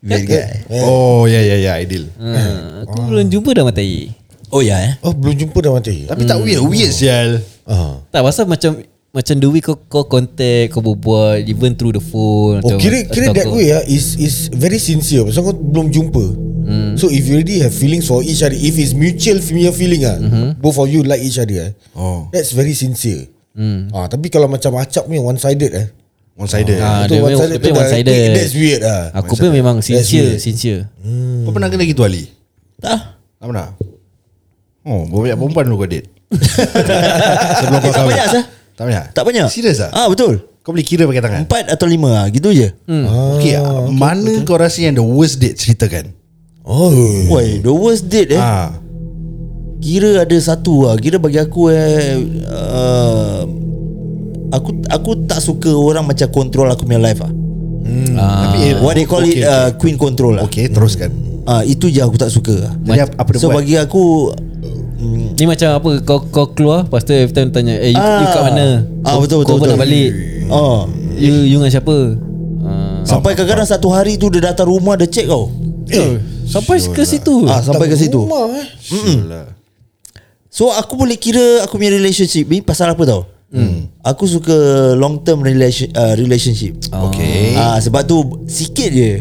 Speaker 4: Weird guy
Speaker 2: Hmm?
Speaker 3: Eh.
Speaker 2: Oh ya ya ya Ideal
Speaker 1: Ha, aku belum jumpa dah matai.
Speaker 4: Oh ya eh
Speaker 3: Oh belum jumpa dah mati
Speaker 2: Tapi tak weird Weird sial
Speaker 3: ah.
Speaker 1: Tak pasal macam macam the way kau kau contact, kau berbual even through the phone. macam-
Speaker 3: Oh kira kira
Speaker 1: atau
Speaker 3: that
Speaker 1: kau-
Speaker 3: way ah is is very sincere. Pasal kau belum jumpa.
Speaker 1: Hmm.
Speaker 3: Mm. So if you already have feelings for each other, if it's mutual punya feeling ah,
Speaker 1: Mhm.
Speaker 3: mm-hmm. both of you like each other eh.
Speaker 2: Oh
Speaker 3: That's very sincere.
Speaker 1: Hmm.
Speaker 3: Mm. Ah tapi kalau macam acap ni one sided eh.
Speaker 2: One sided
Speaker 1: Ah, dia punya- dia
Speaker 3: Itu
Speaker 1: punya
Speaker 3: tu dah-
Speaker 1: one-sided.
Speaker 3: That's weird ah.
Speaker 1: Aku pun memang sincere,
Speaker 3: weird.
Speaker 1: sincere.
Speaker 2: Kau pernah kena gitu Ali?
Speaker 4: Tak
Speaker 2: Tak pernah Oh banyak perempuan dulu kau date Sebelum kau
Speaker 4: Tak
Speaker 2: kahwin
Speaker 4: banyak sah
Speaker 2: Tak banyak?
Speaker 4: Tak banyak
Speaker 2: Serius ah?
Speaker 4: Ah betul
Speaker 2: Kau boleh kira pakai tangan
Speaker 4: Empat atau lima lah Gitu je hmm.
Speaker 2: Okay, okay Mana kau rasa yang the worst date Ceritakan
Speaker 3: Oh
Speaker 4: Woi, the worst date eh
Speaker 2: Ah,
Speaker 4: Kira ada satu lah Kira bagi aku eh uh, Aku aku tak suka orang macam control aku punya life lah
Speaker 1: Ah,
Speaker 2: Tapi, eh,
Speaker 4: What they call
Speaker 2: okay,
Speaker 4: it uh, queen control lah
Speaker 2: Okay teruskan
Speaker 4: Ah Itu je aku tak suka lah
Speaker 2: Jadi apa, apa dia
Speaker 4: So
Speaker 2: buat
Speaker 4: bagi aku
Speaker 1: Ni macam apa Kau kau keluar Lepas tu every time tanya Eh you, you kat mana
Speaker 4: Ah
Speaker 1: Kau-
Speaker 4: betul betul
Speaker 1: Kau pun
Speaker 4: betul.
Speaker 1: nak balik
Speaker 4: Oh.
Speaker 1: You, you dengan siapa Ah.
Speaker 4: Sampai kadang-kadang satu hari tu dia datang rumah dia check kau.
Speaker 1: Eh, Sampai ke situ
Speaker 4: Ah sampai ke situ.
Speaker 3: Rumah eh
Speaker 4: So aku boleh kira aku punya relationship ni pasal apa tau? Hmm. Aku suka long term relation, uh, relationship.
Speaker 2: Okay
Speaker 4: Ah sebab tu sikit je.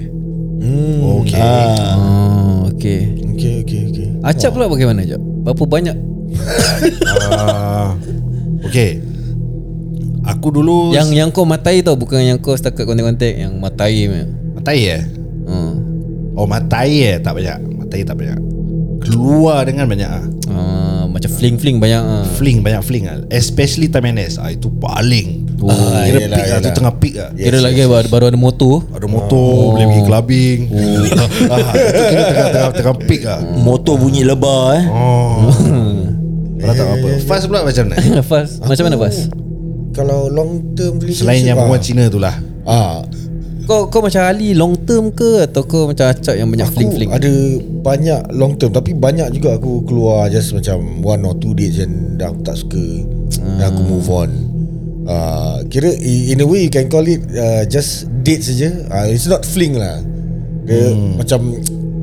Speaker 2: Okay
Speaker 4: Ah
Speaker 1: Oh okay
Speaker 3: Okay okay okay
Speaker 1: Acap pula bagaimana Jap Berapa banyak
Speaker 2: Ah, Okay Aku dulu
Speaker 1: Yang yang kau matai tau Bukan yang kau setakat kontak-kontak Yang matai punya.
Speaker 2: Matai eh
Speaker 1: Ah.
Speaker 2: Oh matai eh Tak banyak Matai tak banyak Keluar dengan banyak ah.
Speaker 1: Ah, Macam fling-fling banyak ah.
Speaker 2: Fling banyak fling ah. Especially time NS ah, Itu paling
Speaker 1: Oh,
Speaker 2: Kira
Speaker 3: yelah,
Speaker 2: peak ah, Itu
Speaker 3: yelah.
Speaker 2: tengah peak ah.
Speaker 1: Kira lagi baru, baru ada motor
Speaker 2: Ada motor Boleh pergi clubbing ah, Itu kira tengah, tengah, tengah peak ah.
Speaker 4: motor bunyi lebar eh.
Speaker 2: Oh Kalau tak apa Eh, Fast pula macam mana
Speaker 1: Fas Macam mana Fas
Speaker 3: Kalau long term relationship
Speaker 2: Selain yang
Speaker 3: ah.
Speaker 2: perempuan Cina tu lah
Speaker 3: Ah,
Speaker 1: Kau kau macam Ali long term ke Atau kau macam acap yang banyak
Speaker 3: Aku
Speaker 1: fling-fling
Speaker 3: ada banyak long term Tapi banyak juga aku keluar Just macam one or two dates And dah aku tak suka Dah aku
Speaker 1: Hmm.
Speaker 3: move on uh, Kira i- in a way you can call it uh, Just date saja uh, It's not fling lah Dia
Speaker 1: Hmm.
Speaker 3: macam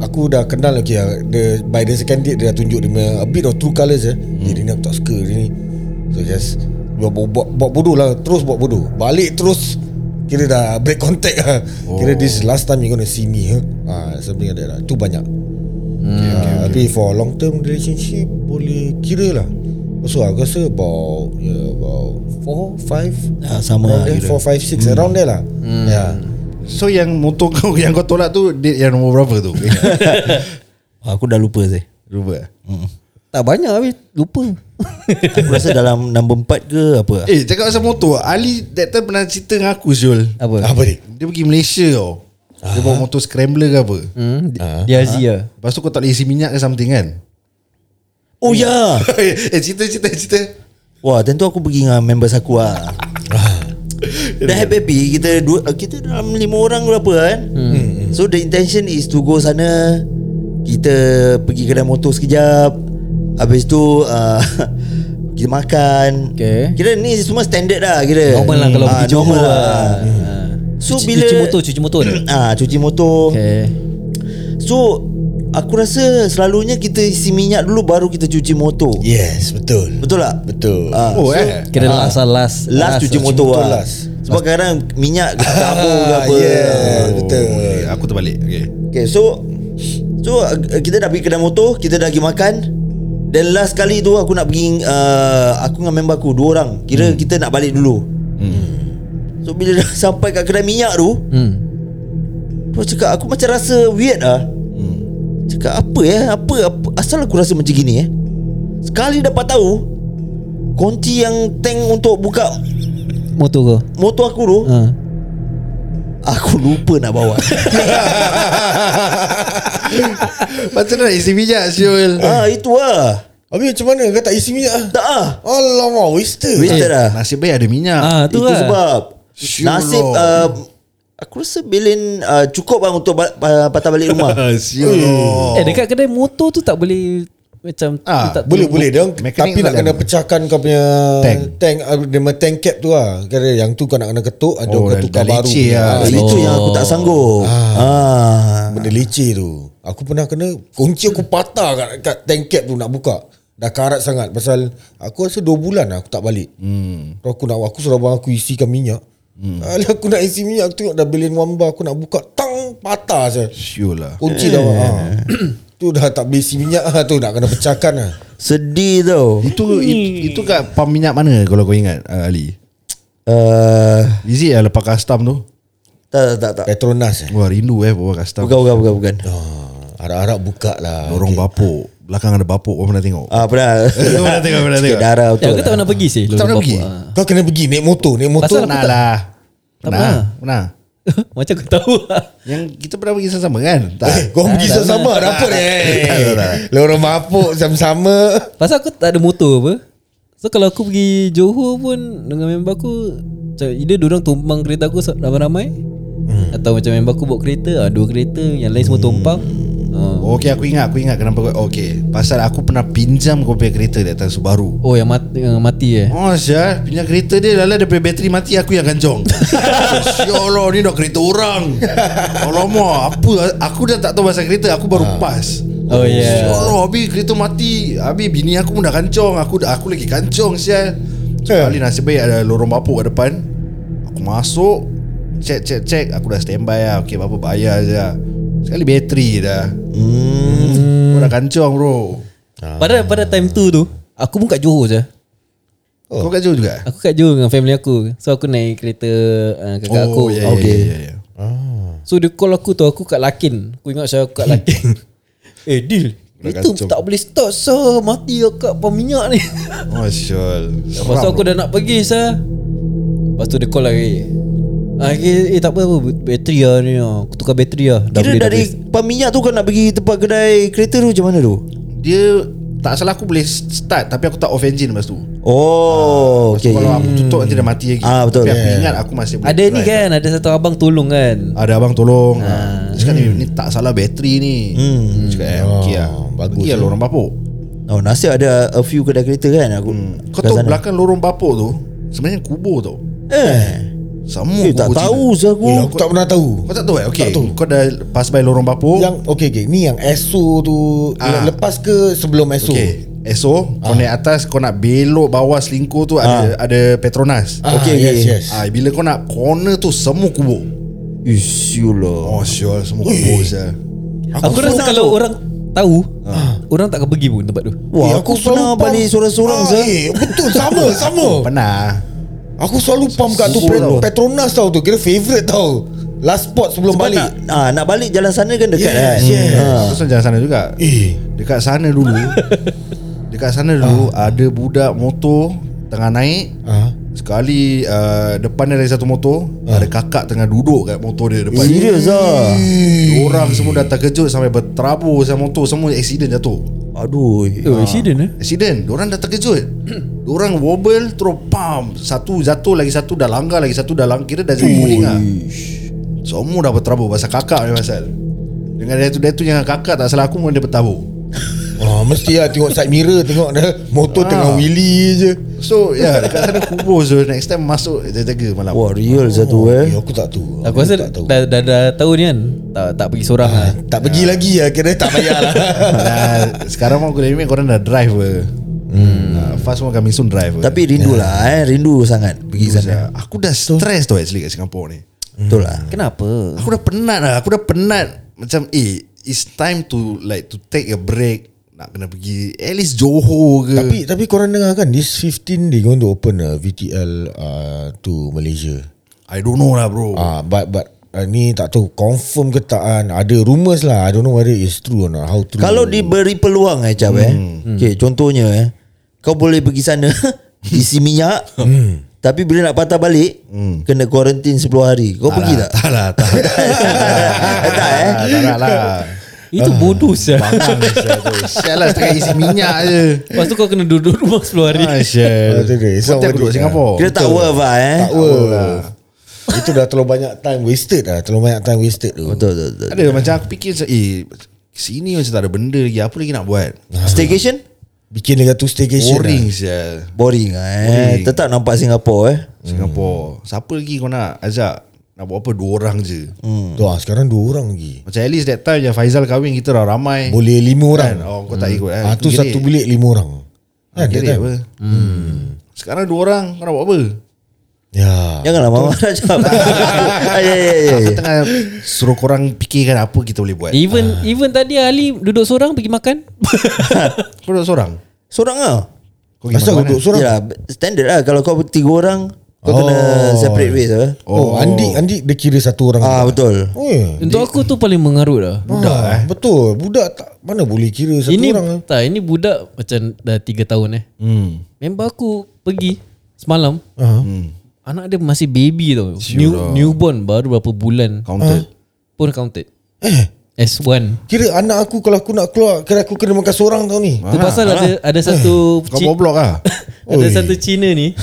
Speaker 3: Aku dah kenal okay, uh, the, By the second date dia dah tunjuk Dia punya a bit of true colours eh. Eh,
Speaker 1: Hmm.
Speaker 3: dia ni aku tak suka dia ni So just buat, buat, buat bodoh lah Terus buat bodoh Balik terus Kira dah break contact lah oh. Kira this last time you gonna see me huh? ah, Something like that lah Tu banyak Hmm, okay, okay, okay. Tapi for long term relationship Boleh kira lah So aku rasa about yeah, About 4, 5
Speaker 4: Ah
Speaker 3: Around
Speaker 4: sama lah
Speaker 3: there, 4, 5,
Speaker 4: kira.
Speaker 3: 6 Around there lah yeah.
Speaker 2: So yang motor kau Yang kau tolak tu Date yang nombor berapa tu
Speaker 4: Ah, Aku dah lupa sih.
Speaker 2: Rupa
Speaker 1: Tak banyak habis Lupa
Speaker 4: Aku rasa dalam number 4 ke apa.
Speaker 2: Eh cakap pasal motor Ali that time pernah cerita dengan aku Syul
Speaker 1: Apa
Speaker 3: Apa ni?
Speaker 2: Dia pergi Malaysia tau Dia bawa motor scrambler ke apa
Speaker 1: hmm? Di- Dia Azia
Speaker 2: Lepas tu kau tak boleh isi minyak ke something kan
Speaker 4: Oh ya. Yeah.
Speaker 2: Eh cerita cerita cerita
Speaker 4: Wah, tentu aku pergi dengan members aku lah. Dah happy happy kita dua kita dalam lima orang berapa kan? Hmm. So the intention is to go sana kita pergi kedai motor sekejap. Habis tu uh, kita makan.
Speaker 1: Okay.
Speaker 4: Kira ni semua standard lah kira.
Speaker 1: Normal lah kalau
Speaker 4: Ah,
Speaker 1: pergi Johor
Speaker 4: normal
Speaker 1: lah.
Speaker 4: lah.
Speaker 1: Ah.
Speaker 4: So
Speaker 1: Cuci-
Speaker 4: bila
Speaker 1: cuci motor, cuci motor ada?
Speaker 4: Ah, cuci motor.
Speaker 1: Okay
Speaker 4: So aku rasa selalunya kita isi minyak dulu baru kita cuci motor.
Speaker 3: Yes betul
Speaker 4: Betul tak?
Speaker 3: Betul
Speaker 4: Ah,
Speaker 2: Oh eh
Speaker 1: Kira last lah last
Speaker 4: Last Ah, cuci motor
Speaker 3: motor
Speaker 4: lah
Speaker 3: last.
Speaker 4: Sebab kadang minyak kat tabung ke apa
Speaker 3: yeah,
Speaker 2: Oh,
Speaker 3: Betul
Speaker 2: eh, Aku terbalik okay.
Speaker 4: Okay so So uh, kita dah pergi kedai motor Kita dah pergi makan Then last kali tu aku nak pergi uh, Aku dengan member aku Dua orang Kira hmm. kita nak balik dulu hmm. So bila dah sampai kat kedai minyak tu
Speaker 1: hmm.
Speaker 4: Aku cakap aku macam rasa weird lah hmm. Cakap apa ya apa, apa Asal aku rasa macam gini eh Sekali dapat tahu Kunci yang tank untuk buka
Speaker 1: Motor kau
Speaker 4: motor aku tu
Speaker 1: ha.
Speaker 4: Aku lupa nak bawa
Speaker 2: Macam mana nak isi minyak Syul
Speaker 4: Ah itu lah
Speaker 3: Habis macam mana kau tak isi minyak ah?
Speaker 4: Tak ah
Speaker 3: Alamak wasted
Speaker 4: Wasted lah
Speaker 2: Nasib baik ada minyak
Speaker 1: Ah,
Speaker 4: Itu
Speaker 1: tu lah
Speaker 4: sebab
Speaker 2: Sure.
Speaker 4: Nasib uh, Aku rasa bilin uh, Cukup lah untuk ba- ba- patah balik rumah
Speaker 2: Ah, Syul
Speaker 1: Eh dekat kedai motor tu tak boleh Macam
Speaker 2: Ah,
Speaker 1: tak
Speaker 3: Boleh boleh dia orang-
Speaker 2: Mekanik
Speaker 3: tapi nak
Speaker 2: tak
Speaker 3: kena
Speaker 2: ada.
Speaker 3: pecahkan kau punya
Speaker 2: Tank.
Speaker 3: tank ah, dia punya tank cap tu lah. Kira yang tu kau nak kena ketuk ada
Speaker 2: Oh,
Speaker 3: kau
Speaker 2: dah-
Speaker 3: tukar
Speaker 2: dah
Speaker 3: baru.
Speaker 2: leceh lah.
Speaker 4: Ah,
Speaker 3: Ah,
Speaker 4: Itu yang aku tak sanggup ah.
Speaker 3: Benda leceh tu. Aku pernah kena kunci aku patah kat, kat tank cap tu nak buka. Dah karat sangat pasal aku rasa 2 bulan lah aku tak balik. Hmm. Aku nak aku suruh abang aku isikan minyak. Hmm. aku nak isi minyak aku tengok dah bilin wamba aku nak buka tang patah saya.
Speaker 2: Syul lah
Speaker 3: Kunci dah. Ha. tu dah tak boleh isi minyak ah tu nak kena pecahkan lah.
Speaker 4: Sedih tau
Speaker 2: Itu it, itu kat pam minyak mana Kalau kau ingat ah, Ali
Speaker 4: uh,
Speaker 2: Is it lah lepas custom tu
Speaker 4: Tak tak tak, tak.
Speaker 3: Petronas eh.
Speaker 2: Wah rindu eh Bawa
Speaker 3: Ha,
Speaker 2: custom
Speaker 4: Bukan bukan bukan, bukan.
Speaker 3: Harap-harap buka lah
Speaker 2: Orang bapuk belakang ada bapuk Kau pernah tengok
Speaker 4: Ah, pernah. lah
Speaker 2: Kau pernah tengok Kau pernah
Speaker 4: Sikit
Speaker 2: tengok
Speaker 4: darah betul.
Speaker 1: Ya, aku tak pernah pergi sih.
Speaker 2: Tak pernah pergi?
Speaker 3: Ha. Kau kena pergi naik motor, naik motor.
Speaker 1: Pasal-
Speaker 2: Pernah lah Pernah
Speaker 1: pernah.
Speaker 2: Pernah
Speaker 1: Macam aku tahu. lah.
Speaker 2: Yang kita pernah pergi sama-sama kan Tak
Speaker 3: Eh, kau pergi sama-sama dapat eh. Lorong mabuk sama-sama.
Speaker 1: Pasal aku tak ada motor apa. So kalau aku pergi Johor pun dengan member aku macam either dia orang tumpang kereta aku ramai-ramai hmm. atau macam member aku bawa kereta, ah, dua kereta yang lain
Speaker 2: Hmm.
Speaker 1: semua tumpang. Ah.
Speaker 2: Okey aku ingat Aku ingat kenapa kau Okey Pasal aku pernah pinjam kau punya kereta Di atas Subaru
Speaker 1: Oh yang mati yang mati eh.
Speaker 2: Oh Syah Pinjam kereta dia Lala dia punya bateri mati Aku yang ganjong Syollah Ya ni dah kereta orang Alamak Apa Aku dah tak tahu pasal kereta Aku baru pas
Speaker 1: Oh, yeah.
Speaker 2: Syollah habis kereta mati Habis bini aku pun dah kancong Aku dah aku lagi kancong Syah Sekali nasib baik ada lorong bapuk kat depan Aku masuk Check check check Aku dah standby lah Okay apa bayar je lah. Sekali bateri dah hmm. Aku dah kancong bro
Speaker 1: Pada pada time tu tu aku pun kat Johor je.
Speaker 2: Kau kat Johor juga?
Speaker 1: Aku kat Johor dengan family aku. So aku naik kereta uh, kakak aku.
Speaker 2: Oh, yeah, okay. yeah, yeah, yeah.
Speaker 1: So dia call aku tu Aku kat Lakin Aku ingat saya aku kat Lakin Eh Dil
Speaker 2: Dah
Speaker 1: Itu
Speaker 2: kacau.
Speaker 1: tak boleh start sah Mati lah kat pam minyak ni
Speaker 2: Oh syol
Speaker 1: Lepas tu aku dah nak pergi sah Lepas tu dia call lagi ah, okay, Eh tak apa, apa Bateri lah ni lah. Aku tukar bateri lah Dah
Speaker 4: Kira
Speaker 1: boleh dah
Speaker 4: dari
Speaker 1: boleh.
Speaker 4: pam minyak tu kau nak pergi tempat kedai kereta tu macam mana tu?
Speaker 2: Dia tak salah aku boleh start Tapi aku tak off engine lepas tu
Speaker 4: Oh,
Speaker 2: okay.
Speaker 4: okey.
Speaker 2: Kalau aku tutup nanti dah mati lagi
Speaker 4: Ah,
Speaker 2: Tapi
Speaker 4: betul.
Speaker 2: aku ingat aku masih boleh
Speaker 1: Ada ni
Speaker 2: drive.
Speaker 1: kan Ada satu abang tolong kan
Speaker 2: Ada abang tolong ah. Dia cakap ni, ni tak salah bateri ni hmm. Dia cakap eh, okey lah
Speaker 3: bagus
Speaker 2: Pergi lah lorong bapuk
Speaker 4: Oh, nasib ada a few kedai kereta kan aku.
Speaker 2: Kau
Speaker 4: kat
Speaker 2: tahu
Speaker 4: sana.
Speaker 2: belakang lorong bapuk tu Sebenarnya kubur tau
Speaker 4: Eh.
Speaker 2: Semua
Speaker 4: Eh, tak
Speaker 2: kubur
Speaker 4: tahu
Speaker 2: Cina.
Speaker 4: saya aku.
Speaker 3: Eh, aku tak pernah tahu.
Speaker 2: Kau tak tahu eh
Speaker 3: Tak
Speaker 2: okay.
Speaker 3: tahu.
Speaker 2: Kau dah pass by lorong bapuk
Speaker 3: Yang okey okey ni yang ESO tu
Speaker 2: Ah.
Speaker 3: le- lepas ke sebelum ESO?
Speaker 2: Okay SO
Speaker 3: Ah.
Speaker 2: Kau naik atas Kau nak belok bawah selingkuh tu Ada ada Petronas
Speaker 3: Ah,
Speaker 4: Okey,
Speaker 3: yes,
Speaker 4: okey.
Speaker 3: yes.
Speaker 2: Ah, Bila kau nak corner tu Semua kubur
Speaker 4: Isyulah.
Speaker 2: Oh sure Semua kubur je
Speaker 1: Aku,
Speaker 4: Aku
Speaker 1: rasa
Speaker 4: pernah
Speaker 1: kalau
Speaker 4: tu.
Speaker 1: orang Tahu Orang takkan pergi pun tempat tu
Speaker 4: Wah, aku, pernah balik sorang-sorang
Speaker 3: ah,
Speaker 4: saya.
Speaker 3: eh, Betul sama sama.
Speaker 2: Pernah
Speaker 3: Aku selalu pam kat tu
Speaker 4: Sibuk
Speaker 3: Pet-
Speaker 4: tau.
Speaker 3: Petronas tau tu Kira favourite tau Last spot sebelum
Speaker 4: Sebab
Speaker 3: balik
Speaker 4: nak, ah, nak balik jalan sana kan dekat
Speaker 3: Yes,
Speaker 4: kan
Speaker 3: yes.
Speaker 4: Ah.
Speaker 2: Aku Terus jalan sana juga
Speaker 3: Eh
Speaker 2: Dekat sana dulu Dekat sana dulu Ada budak motor Tengah naik
Speaker 3: ah.
Speaker 2: Sekali uh, Depan dia ada satu motor Ada kakak tengah duduk kat motor dia depan
Speaker 4: Serius
Speaker 3: ah?
Speaker 4: lah
Speaker 3: Eh.
Speaker 2: Orang semua dah terkejut Sampai berterabur Sama motor Semua accident jatuh
Speaker 4: Aduh
Speaker 1: Oh accident eh
Speaker 2: Accident Diorang dah terkejut Diorang wobble Terus pam Satu jatuh Lagi satu dah langgar Lagi satu dah langgar Kira dah jadi guling lah Semua dah berterabur Pasal kakak ni pasal Dengan dia tu Dia tu yang kakak Tak salah aku pun dia bertabur
Speaker 3: Ah, mesti lah tengok side mirror Tengok dah Motor
Speaker 2: Ah.
Speaker 3: tengah wheelie je
Speaker 2: So ya yeah, Dekat sana kubur So next time masuk Jaga-jaga malam
Speaker 4: Wah real satu
Speaker 3: eh,
Speaker 4: eh
Speaker 3: Aku tak tahu
Speaker 1: Aku rasa dah, dah, dah, tahu ni kan Tak, tak pergi seorang lah
Speaker 3: Tak pergi lagi lah Kira tak payah lah
Speaker 2: Nah, Sekarang pun aku dah remake Korang dah drive ke hmm. Fast pun coming soon drive
Speaker 4: Tapi rindu lah eh Rindu sangat Pergi sana
Speaker 2: Aku dah stress tau actually Kat Singapore ni
Speaker 4: Betul lah
Speaker 1: Kenapa?
Speaker 2: Aku dah penat lah Aku dah penat Macam eh It's time to Like to take a break Nak kena pergi At least Johor ke
Speaker 3: Tapi tapi korang dengar kan This 15 They going to open a VTL uh, To Malaysia
Speaker 2: I don't know lah bro
Speaker 4: Oh.
Speaker 3: Ah, but but uh, ni tak tahu confirm ke tak kan. Ada rumours lah. I don't know whether it's true or not. How true?
Speaker 4: Kalau diberi peluang eh Cap eh Okay contohnya eh Kau boleh pergi sana Isi minyak Tapi bila nak patah balik Kena quarantine 10 hari Kau pergi tak?
Speaker 2: Tak lah Tak lah
Speaker 4: Eh, tak eh
Speaker 2: Tak nak lah
Speaker 1: Itu bodoh sial
Speaker 2: Sial lah setengah isi minyak je
Speaker 1: Lepas tu kau kena duduk rumah 10 hari
Speaker 2: Ah,
Speaker 3: Ah,
Speaker 2: Sial
Speaker 3: tu dia. It's
Speaker 2: Kau
Speaker 3: not
Speaker 2: tak
Speaker 3: worth
Speaker 2: duduk
Speaker 3: it,
Speaker 2: Singapore
Speaker 4: Kira tak worth lah eh
Speaker 3: tak worth. Itu dah terlalu banyak time wasted lah. Terlalu banyak time wasted tu.
Speaker 4: Betul betul betul
Speaker 2: Ada macam aku fikir macam, Eh Sini macam tak ada benda lagi Apa lagi nak buat
Speaker 4: Staycation?
Speaker 3: Bikin dengan tu staycation. lah.
Speaker 2: Boring sial
Speaker 4: Boring lah eh
Speaker 2: Boring.
Speaker 4: Tetap nampak Singapore eh
Speaker 2: Singapore Siapa lagi kau nak ajak Nak buat apa Dua orang je
Speaker 3: Lah.
Speaker 4: Hmm.
Speaker 3: Tu ah, sekarang dua orang lagi.
Speaker 2: Macam at least that time Yang Faizal kahwin Kita dah
Speaker 1: Eh.
Speaker 2: ramai
Speaker 3: Boleh lima orang.
Speaker 2: kan? Oh kau tak ikut eh?
Speaker 3: ah, tu
Speaker 2: Gerik.
Speaker 3: satu bilik lima orang. Kan, that
Speaker 2: Gerik
Speaker 3: time.
Speaker 2: apa hmm. Sekarang dua orang Kau nak buat apa
Speaker 3: Ya.
Speaker 4: Janganlah marah Cap Ya ya ya
Speaker 2: Aku
Speaker 4: ya.
Speaker 2: tengah Ah, Suruh korang fikirkan Apa kita boleh buat
Speaker 1: Even even tadi Ali duduk seorang pergi makan
Speaker 2: Kau duduk seorang
Speaker 4: Seorang lah
Speaker 2: Kau pergi
Speaker 3: Asal kau duduk
Speaker 2: makan mana?
Speaker 4: Ya.
Speaker 2: Ya,
Speaker 3: seorang?
Speaker 4: Yalah, standard lah Kalau kau tiga orang Kau oh. kena separate ways apa?
Speaker 3: Oh, oh Andik Andik dia kira satu orang.
Speaker 4: Ah betul.
Speaker 3: Oh, eh.
Speaker 1: Untuk aku tu paling mengarut lah
Speaker 3: Budak ah, eh. Betul. Budak tak mana boleh kira satu
Speaker 1: Ini
Speaker 3: orang. eh.
Speaker 1: tak Ini budak Macam dah 3 tahun eh
Speaker 2: Hmm.
Speaker 1: Member aku Pergi Semalam
Speaker 3: Ah.
Speaker 1: Anak dia masih baby tau New, Newborn Baru berapa bulan
Speaker 2: Counted.
Speaker 1: Pun counted
Speaker 3: Eh,
Speaker 1: S1
Speaker 3: kira anak aku kalau aku nak keluar, kira aku kena makan seorang tau ni.
Speaker 1: Tu pasal ada ada satu
Speaker 2: Kau
Speaker 1: Ci-
Speaker 2: bawa blok ah.
Speaker 1: ada
Speaker 3: Eh, Oi.
Speaker 1: satu Cina ni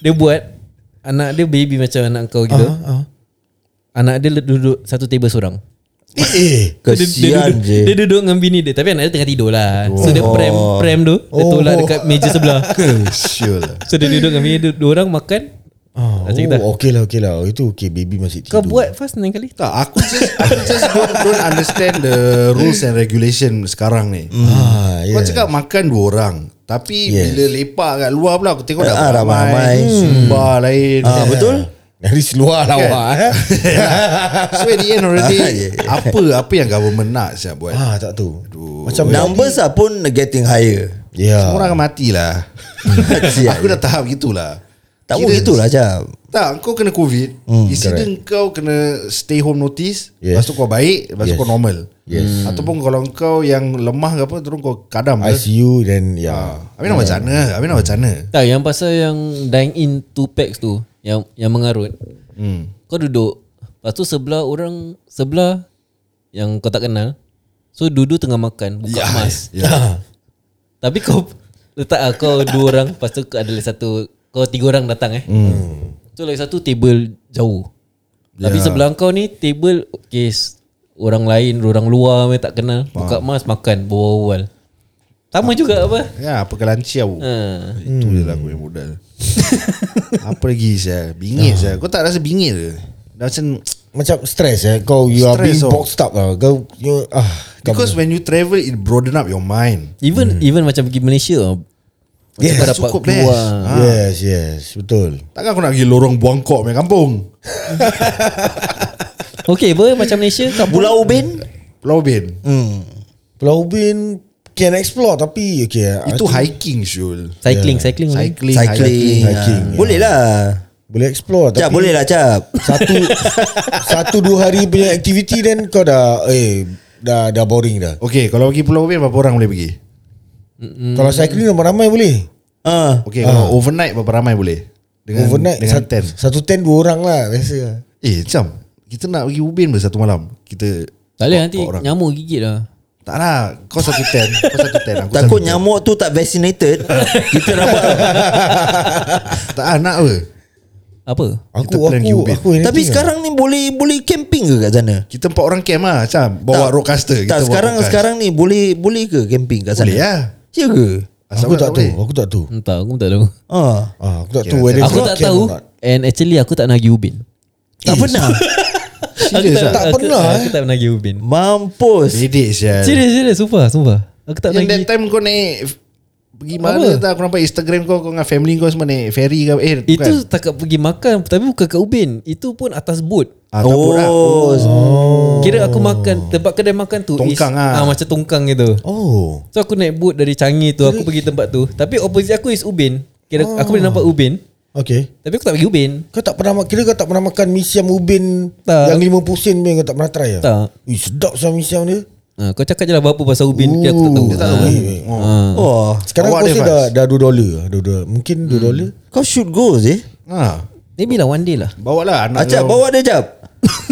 Speaker 1: dia buat anak dia baby macam anak kau gitu.
Speaker 3: Ah, ah.
Speaker 1: Anak dia le- duduk satu table seorang.
Speaker 3: Eh, eh.
Speaker 1: Dia, dia,
Speaker 4: Kesian
Speaker 1: duduk,
Speaker 4: je.
Speaker 1: dia duduk dengan bini dia Tapi anak dia tengah tidur lah So dia prem Prem tu Dia
Speaker 3: Oh.
Speaker 1: tolak dekat meja sebelah
Speaker 2: Sure lah.
Speaker 1: So dia duduk dengan bini dia Dua orang makan
Speaker 3: Ah,
Speaker 1: Macam kita.
Speaker 3: oh, okey lah, okey lah. Itu okey, baby masih
Speaker 1: Kau
Speaker 3: tidur.
Speaker 1: buat fast lain kali
Speaker 2: Tak, aku just aku just don't, don't understand the rules and regulation sekarang ni.
Speaker 3: Ah,
Speaker 2: Kau
Speaker 3: yeah.
Speaker 2: cakap makan dua orang Tapi
Speaker 3: Yes.
Speaker 2: bila lepak kat luar pula Aku tengok dah Hmm.
Speaker 4: Ah, ramai-ramai.
Speaker 2: Sumba lain
Speaker 4: Ah betul.
Speaker 3: ya. Dari seluar lah
Speaker 2: Kan?
Speaker 3: awak eh.
Speaker 2: So at the end already
Speaker 4: Ah, yeah, yeah.
Speaker 2: Apa apa yang government nak siap buat
Speaker 3: Ah, tak tahu. Macam
Speaker 4: Numbers lah pun getting higher.
Speaker 3: Ya.
Speaker 2: Semua orang akan matilah Hmm.
Speaker 4: Kesian.
Speaker 2: Aku dah tahap gitulah
Speaker 4: Tak lah, pun
Speaker 2: Kira-
Speaker 4: gitulah Cap.
Speaker 2: tak, kau kena COVID lah. hmm, Incident kau kena Stay home notice yes.
Speaker 3: Yes.
Speaker 2: Lepas tu kau baik Lepas yes. tu
Speaker 3: Yes.
Speaker 2: kau normal Hmm.
Speaker 3: Yes.
Speaker 2: Ataupun kalau kau yang lemah ke apa Terus kau kadam ke.
Speaker 3: ICU dan ya.
Speaker 2: Ah, Habis nak macam mana Habis nak macam mana
Speaker 1: Tak yang pasal yang Dine in two packs tu Yang yang mengarut
Speaker 2: hmm.
Speaker 1: Kau duduk Lepas tu sebelah orang Sebelah Yang kau tak kenal So duduk tengah makan Buka yeah. mask
Speaker 2: Ya.
Speaker 1: Tapi kau Letak lah kau dua orang Lepas tu ada lagi satu Kau tiga orang datang eh hmm. So lagi satu table jauh yeah. Tapi
Speaker 2: Ya.
Speaker 1: sebelah kau ni Table okay, s- Orang lain Orang luar yang tak kenal Buka mas makan Berwal-wal Sama juga apa
Speaker 2: Ya, apa kelanci aku.
Speaker 1: ha.
Speaker 2: Itu je lah aku yang modal. Ah. apa lagi saya? Bingit saya. Kau tak rasa bingit ke? Dah macam
Speaker 3: Macam stress eh. Kau you are
Speaker 2: Stress
Speaker 3: being
Speaker 2: tau.
Speaker 3: boxed up lah. Kau you, ah. kau-
Speaker 2: because when you travel it broaden up your mind.
Speaker 1: Even even macam pergi Malaysia Macam
Speaker 3: Yes,
Speaker 1: kau dapat
Speaker 2: Hmm. cukup best.
Speaker 1: keluar
Speaker 3: Yes, yes. Betul.
Speaker 2: Takkan aku nak pergi lorong Buangkok punya kampung.
Speaker 1: Okay apa macam Malaysia kau
Speaker 4: Pulau Ubin?
Speaker 2: Pulau Ubin.
Speaker 4: Hmm.
Speaker 3: Pulau Ubin can explore tapi okay. ah,
Speaker 2: Itu
Speaker 3: I think
Speaker 2: hiking Syul.
Speaker 1: Cycling cycling boleh?
Speaker 2: Ya. Cycling,
Speaker 4: Cycling.
Speaker 2: hiking.
Speaker 3: hiking,
Speaker 4: Ah.
Speaker 3: ya.
Speaker 4: Boleh lah.
Speaker 3: boleh explore
Speaker 2: Ya,
Speaker 3: tapi
Speaker 4: Cap boleh lah Cap.
Speaker 3: satu satu dua hari punya aktiviti then kau dah eh dah dah boring dah.
Speaker 2: Okay, kalau pergi Pulau Ubin berapa orang boleh pergi? Hmm.
Speaker 3: Mm. Kalau cycling ramai-ramai boleh.
Speaker 4: Ah.
Speaker 2: Okay, kalau overnight berapa ramai boleh? Dengan
Speaker 3: Overnight
Speaker 2: dengan
Speaker 3: sat-
Speaker 2: ten.
Speaker 3: satu ten dua orang lah biasa. lah.
Speaker 2: Eh, macam kita nak pergi Ubin ber satu malam. Kita
Speaker 1: Tak boleh
Speaker 2: kau-
Speaker 1: nanti
Speaker 2: kau orang.
Speaker 1: nyamuk gigit lah
Speaker 2: Tak lah, kau satu ten, kau satu ten, aku
Speaker 4: Takut
Speaker 2: satu ten.
Speaker 4: nyamuk tu tak vaccinated Kita dapat
Speaker 2: Tak ah, nak apa?
Speaker 1: Apa?
Speaker 3: Aku
Speaker 2: Kita plan
Speaker 3: aku
Speaker 2: Ubin.
Speaker 3: aku energy
Speaker 4: Tapi
Speaker 3: lah.
Speaker 4: sekarang ni boleh boleh camping ke kat sana?
Speaker 2: Kita empat orang camp lah Macam bawa
Speaker 4: Tak.
Speaker 2: roadcaster kita
Speaker 4: tak
Speaker 2: bawa
Speaker 4: sekarang
Speaker 2: roadcast.
Speaker 4: sekarang ni boleh boleh ke camping kat sana?
Speaker 2: Boleh lah
Speaker 4: Ya ke?
Speaker 2: Asal
Speaker 3: aku
Speaker 2: kau
Speaker 3: tak
Speaker 2: boleh?
Speaker 3: tahu, aku tak tahu.
Speaker 1: Entah aku pun tak tahu
Speaker 4: Ah.
Speaker 3: Ah, aku tak
Speaker 2: Okay,
Speaker 3: tahu whether
Speaker 1: Aku
Speaker 3: it's
Speaker 1: tak
Speaker 3: can or
Speaker 1: tahu
Speaker 3: not.
Speaker 1: And actually aku tak nak pergi Ubin
Speaker 4: Tak
Speaker 2: Eh.
Speaker 4: pernah.
Speaker 1: Aku
Speaker 2: Serius lah
Speaker 3: tak pernah,
Speaker 1: ah? aku,
Speaker 3: eh?
Speaker 1: aku tak pernah pergi Ubin
Speaker 4: Mampus.
Speaker 2: Bedek sial
Speaker 1: Serius serius Sumpah sumpah Aku tak
Speaker 2: Yang
Speaker 1: pernah
Speaker 2: that
Speaker 1: pergi
Speaker 2: time kau naik Pergi mana tak Aku nampak Instagram kau Kau dengan family kau semua naik ferry ke Eh bukan
Speaker 1: Itu tak pergi makan Tapi bukan kat Ubin Itu pun atas boat
Speaker 2: ah, tak
Speaker 4: Oh,
Speaker 2: pun lah.
Speaker 1: Kira aku makan Tempat kedai makan tu is-
Speaker 2: Tongkang ah.
Speaker 1: ah, Macam tongkang gitu
Speaker 3: Oh.
Speaker 1: So aku naik boat dari Changi tu Aku pergi tempat tu Tapi opposite aku is Ubin Kira aku boleh nampak Ubin
Speaker 3: Okay.
Speaker 1: Tapi aku tak pergi Ubin
Speaker 3: Kau tak pernah ma- kira kau tak pernah makan mi siam ubin
Speaker 1: Tak.
Speaker 3: yang 50 sen punya kau tak pernah try ah.
Speaker 1: Tak.
Speaker 3: Ui, sedap siam mi siam dia.
Speaker 1: ah, Kau cakap je lah apa pasal Ubin Kira aku tak tahu
Speaker 2: Tak tahu
Speaker 1: Ah.
Speaker 2: eh. Oh.
Speaker 4: Oh.
Speaker 3: Sekarang
Speaker 2: Awak
Speaker 3: kau
Speaker 2: dia,
Speaker 3: rasa
Speaker 2: Faz?
Speaker 3: dah dah 2 dolar, 2 dolar. Mungkin 2 dolar.
Speaker 4: Kau should go sih.
Speaker 2: Ah.
Speaker 1: Maybe lah one day lah
Speaker 2: Bawa lah anak
Speaker 4: Acap
Speaker 2: kau.
Speaker 4: bawa dia Cap.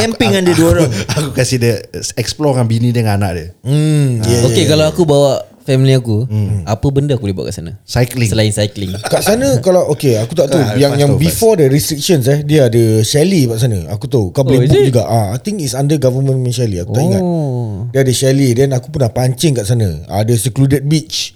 Speaker 4: camping dengan dia dua orang.
Speaker 2: Aku kasih dia Explore dengan bini dia Dengan anak dia
Speaker 3: Hmm, yeah.
Speaker 1: Okay kalau aku bawa Family aku Apa benda aku boleh buat kat sana
Speaker 2: Cycling
Speaker 1: Selain cycling
Speaker 3: Kat sana kalau okay aku tak tahu
Speaker 2: Ah,
Speaker 3: yang
Speaker 2: Faz
Speaker 3: yang
Speaker 2: tahu, Faz.
Speaker 3: before the restrictions eh dia ada chalet kat sana. Aku tahu
Speaker 1: Oh,
Speaker 3: kau boleh
Speaker 1: is
Speaker 3: book
Speaker 1: it?
Speaker 3: juga. Ah, I think it's under government punya chalet aku tak ingat.
Speaker 1: Oh.
Speaker 3: Dia ada chalet Then aku pernah pancing kat sana Ada secluded beach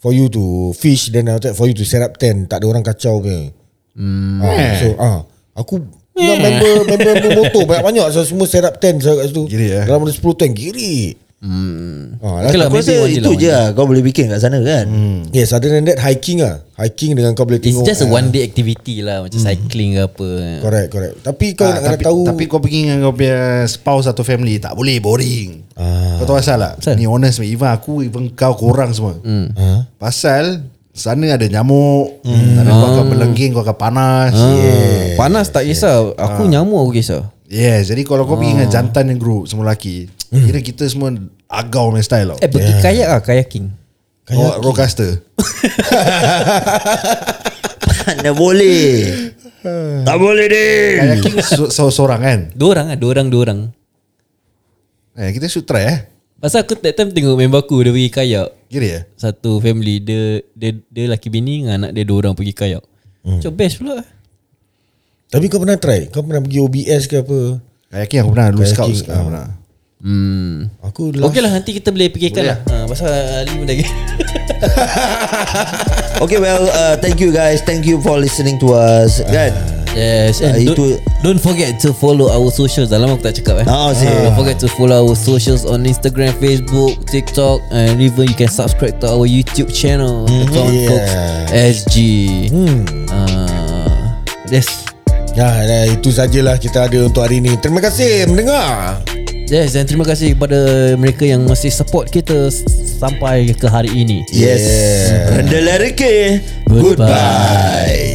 Speaker 3: For you to fish Then after that for you to set up tent Tak ada orang kacau punya hmm. ha,
Speaker 1: Eh.
Speaker 3: So ah, Aku yeah. member member member motor banyak-banyak so, Semua set up tent saya kat situ
Speaker 2: Giri, eh?
Speaker 3: Dalam ada 10 tent Giri hmm. ha,
Speaker 1: Okay lah.
Speaker 3: okay lah.
Speaker 4: Aku
Speaker 1: maybe
Speaker 4: rasa
Speaker 1: one day
Speaker 4: itu
Speaker 1: lah,
Speaker 4: je lah kau boleh bikin kat sana kan.
Speaker 2: Hmm.
Speaker 3: Yes other than that hiking ah, Hiking dengan kau boleh
Speaker 1: It's
Speaker 3: tengok
Speaker 1: just a
Speaker 3: ah.
Speaker 1: one day activity lah Macam cycling ke apa
Speaker 3: Correct correct Tapi kau nak kena
Speaker 2: Ah, tapi,
Speaker 3: tahu
Speaker 2: Tapi kau pergi dengan kau punya spouse atau family Tak boleh boring ah. Kau tahu asal tak
Speaker 1: Asal?
Speaker 2: Ni honest me Even aku Even kau korang semua
Speaker 1: Hmm.
Speaker 3: ha?
Speaker 2: Pasal Sana ada nyamuk hmm. Sana kau akan berlengging Kau akan panas
Speaker 1: Yes, Panas tak kisah Aku nyamuk aku kisah
Speaker 2: Yes Jadi kalau kau pergi dengan jantan yang group Semua lelaki Kira kita semua Agau main style tau
Speaker 1: Eh pergi yeah. kayak lah Kayaking
Speaker 2: oh, Rockcaster
Speaker 4: Mana boleh Tak boleh deh
Speaker 2: Kayaking so- seorang-seorang kan
Speaker 1: Dua orang lah Dua orang Dua orang
Speaker 2: eh, Kita should try eh
Speaker 1: Pasal aku that time tengok member aku Dia pergi kayak
Speaker 2: Kira ya
Speaker 1: Satu family Dia dia, dia laki bini Dengan anak dia dua orang pergi kayak hmm. Macam best pula
Speaker 3: Tapi kau pernah try Kau pernah pergi OBS ke apa
Speaker 2: Kayaking aku pernah Dulu scout
Speaker 3: Kayaking,
Speaker 2: aku pernah
Speaker 1: Hmm
Speaker 3: Aku last
Speaker 1: Okey lah nanti kita boleh fikirkan lah ha, Pasal Ali pun lagi
Speaker 4: Okay well uh, Thank you guys Thank you for listening to us Kan
Speaker 1: Yes
Speaker 4: Ah,
Speaker 1: and don't,
Speaker 4: itu-
Speaker 1: don't forget to follow our socials Dah lama aku tak cakap eh
Speaker 4: Ah, sih.
Speaker 1: Don't forget to follow our socials on Instagram, Facebook, TikTok And even you can subscribe to our YouTube channel
Speaker 4: Mm-hmm,
Speaker 1: mm, Account
Speaker 3: yeah.
Speaker 1: Folks SG hmm. uh, Yes
Speaker 3: Ya, nah, itu sajalah kita ada untuk hari ini. Terima kasih mendengar.
Speaker 1: Yes dan terima kasih kepada mereka yang masih support kita s- Sampai ke hari ini
Speaker 2: Ah.
Speaker 4: Yes yeah. Rendah lelaki
Speaker 1: Goodbye.
Speaker 4: Goodbye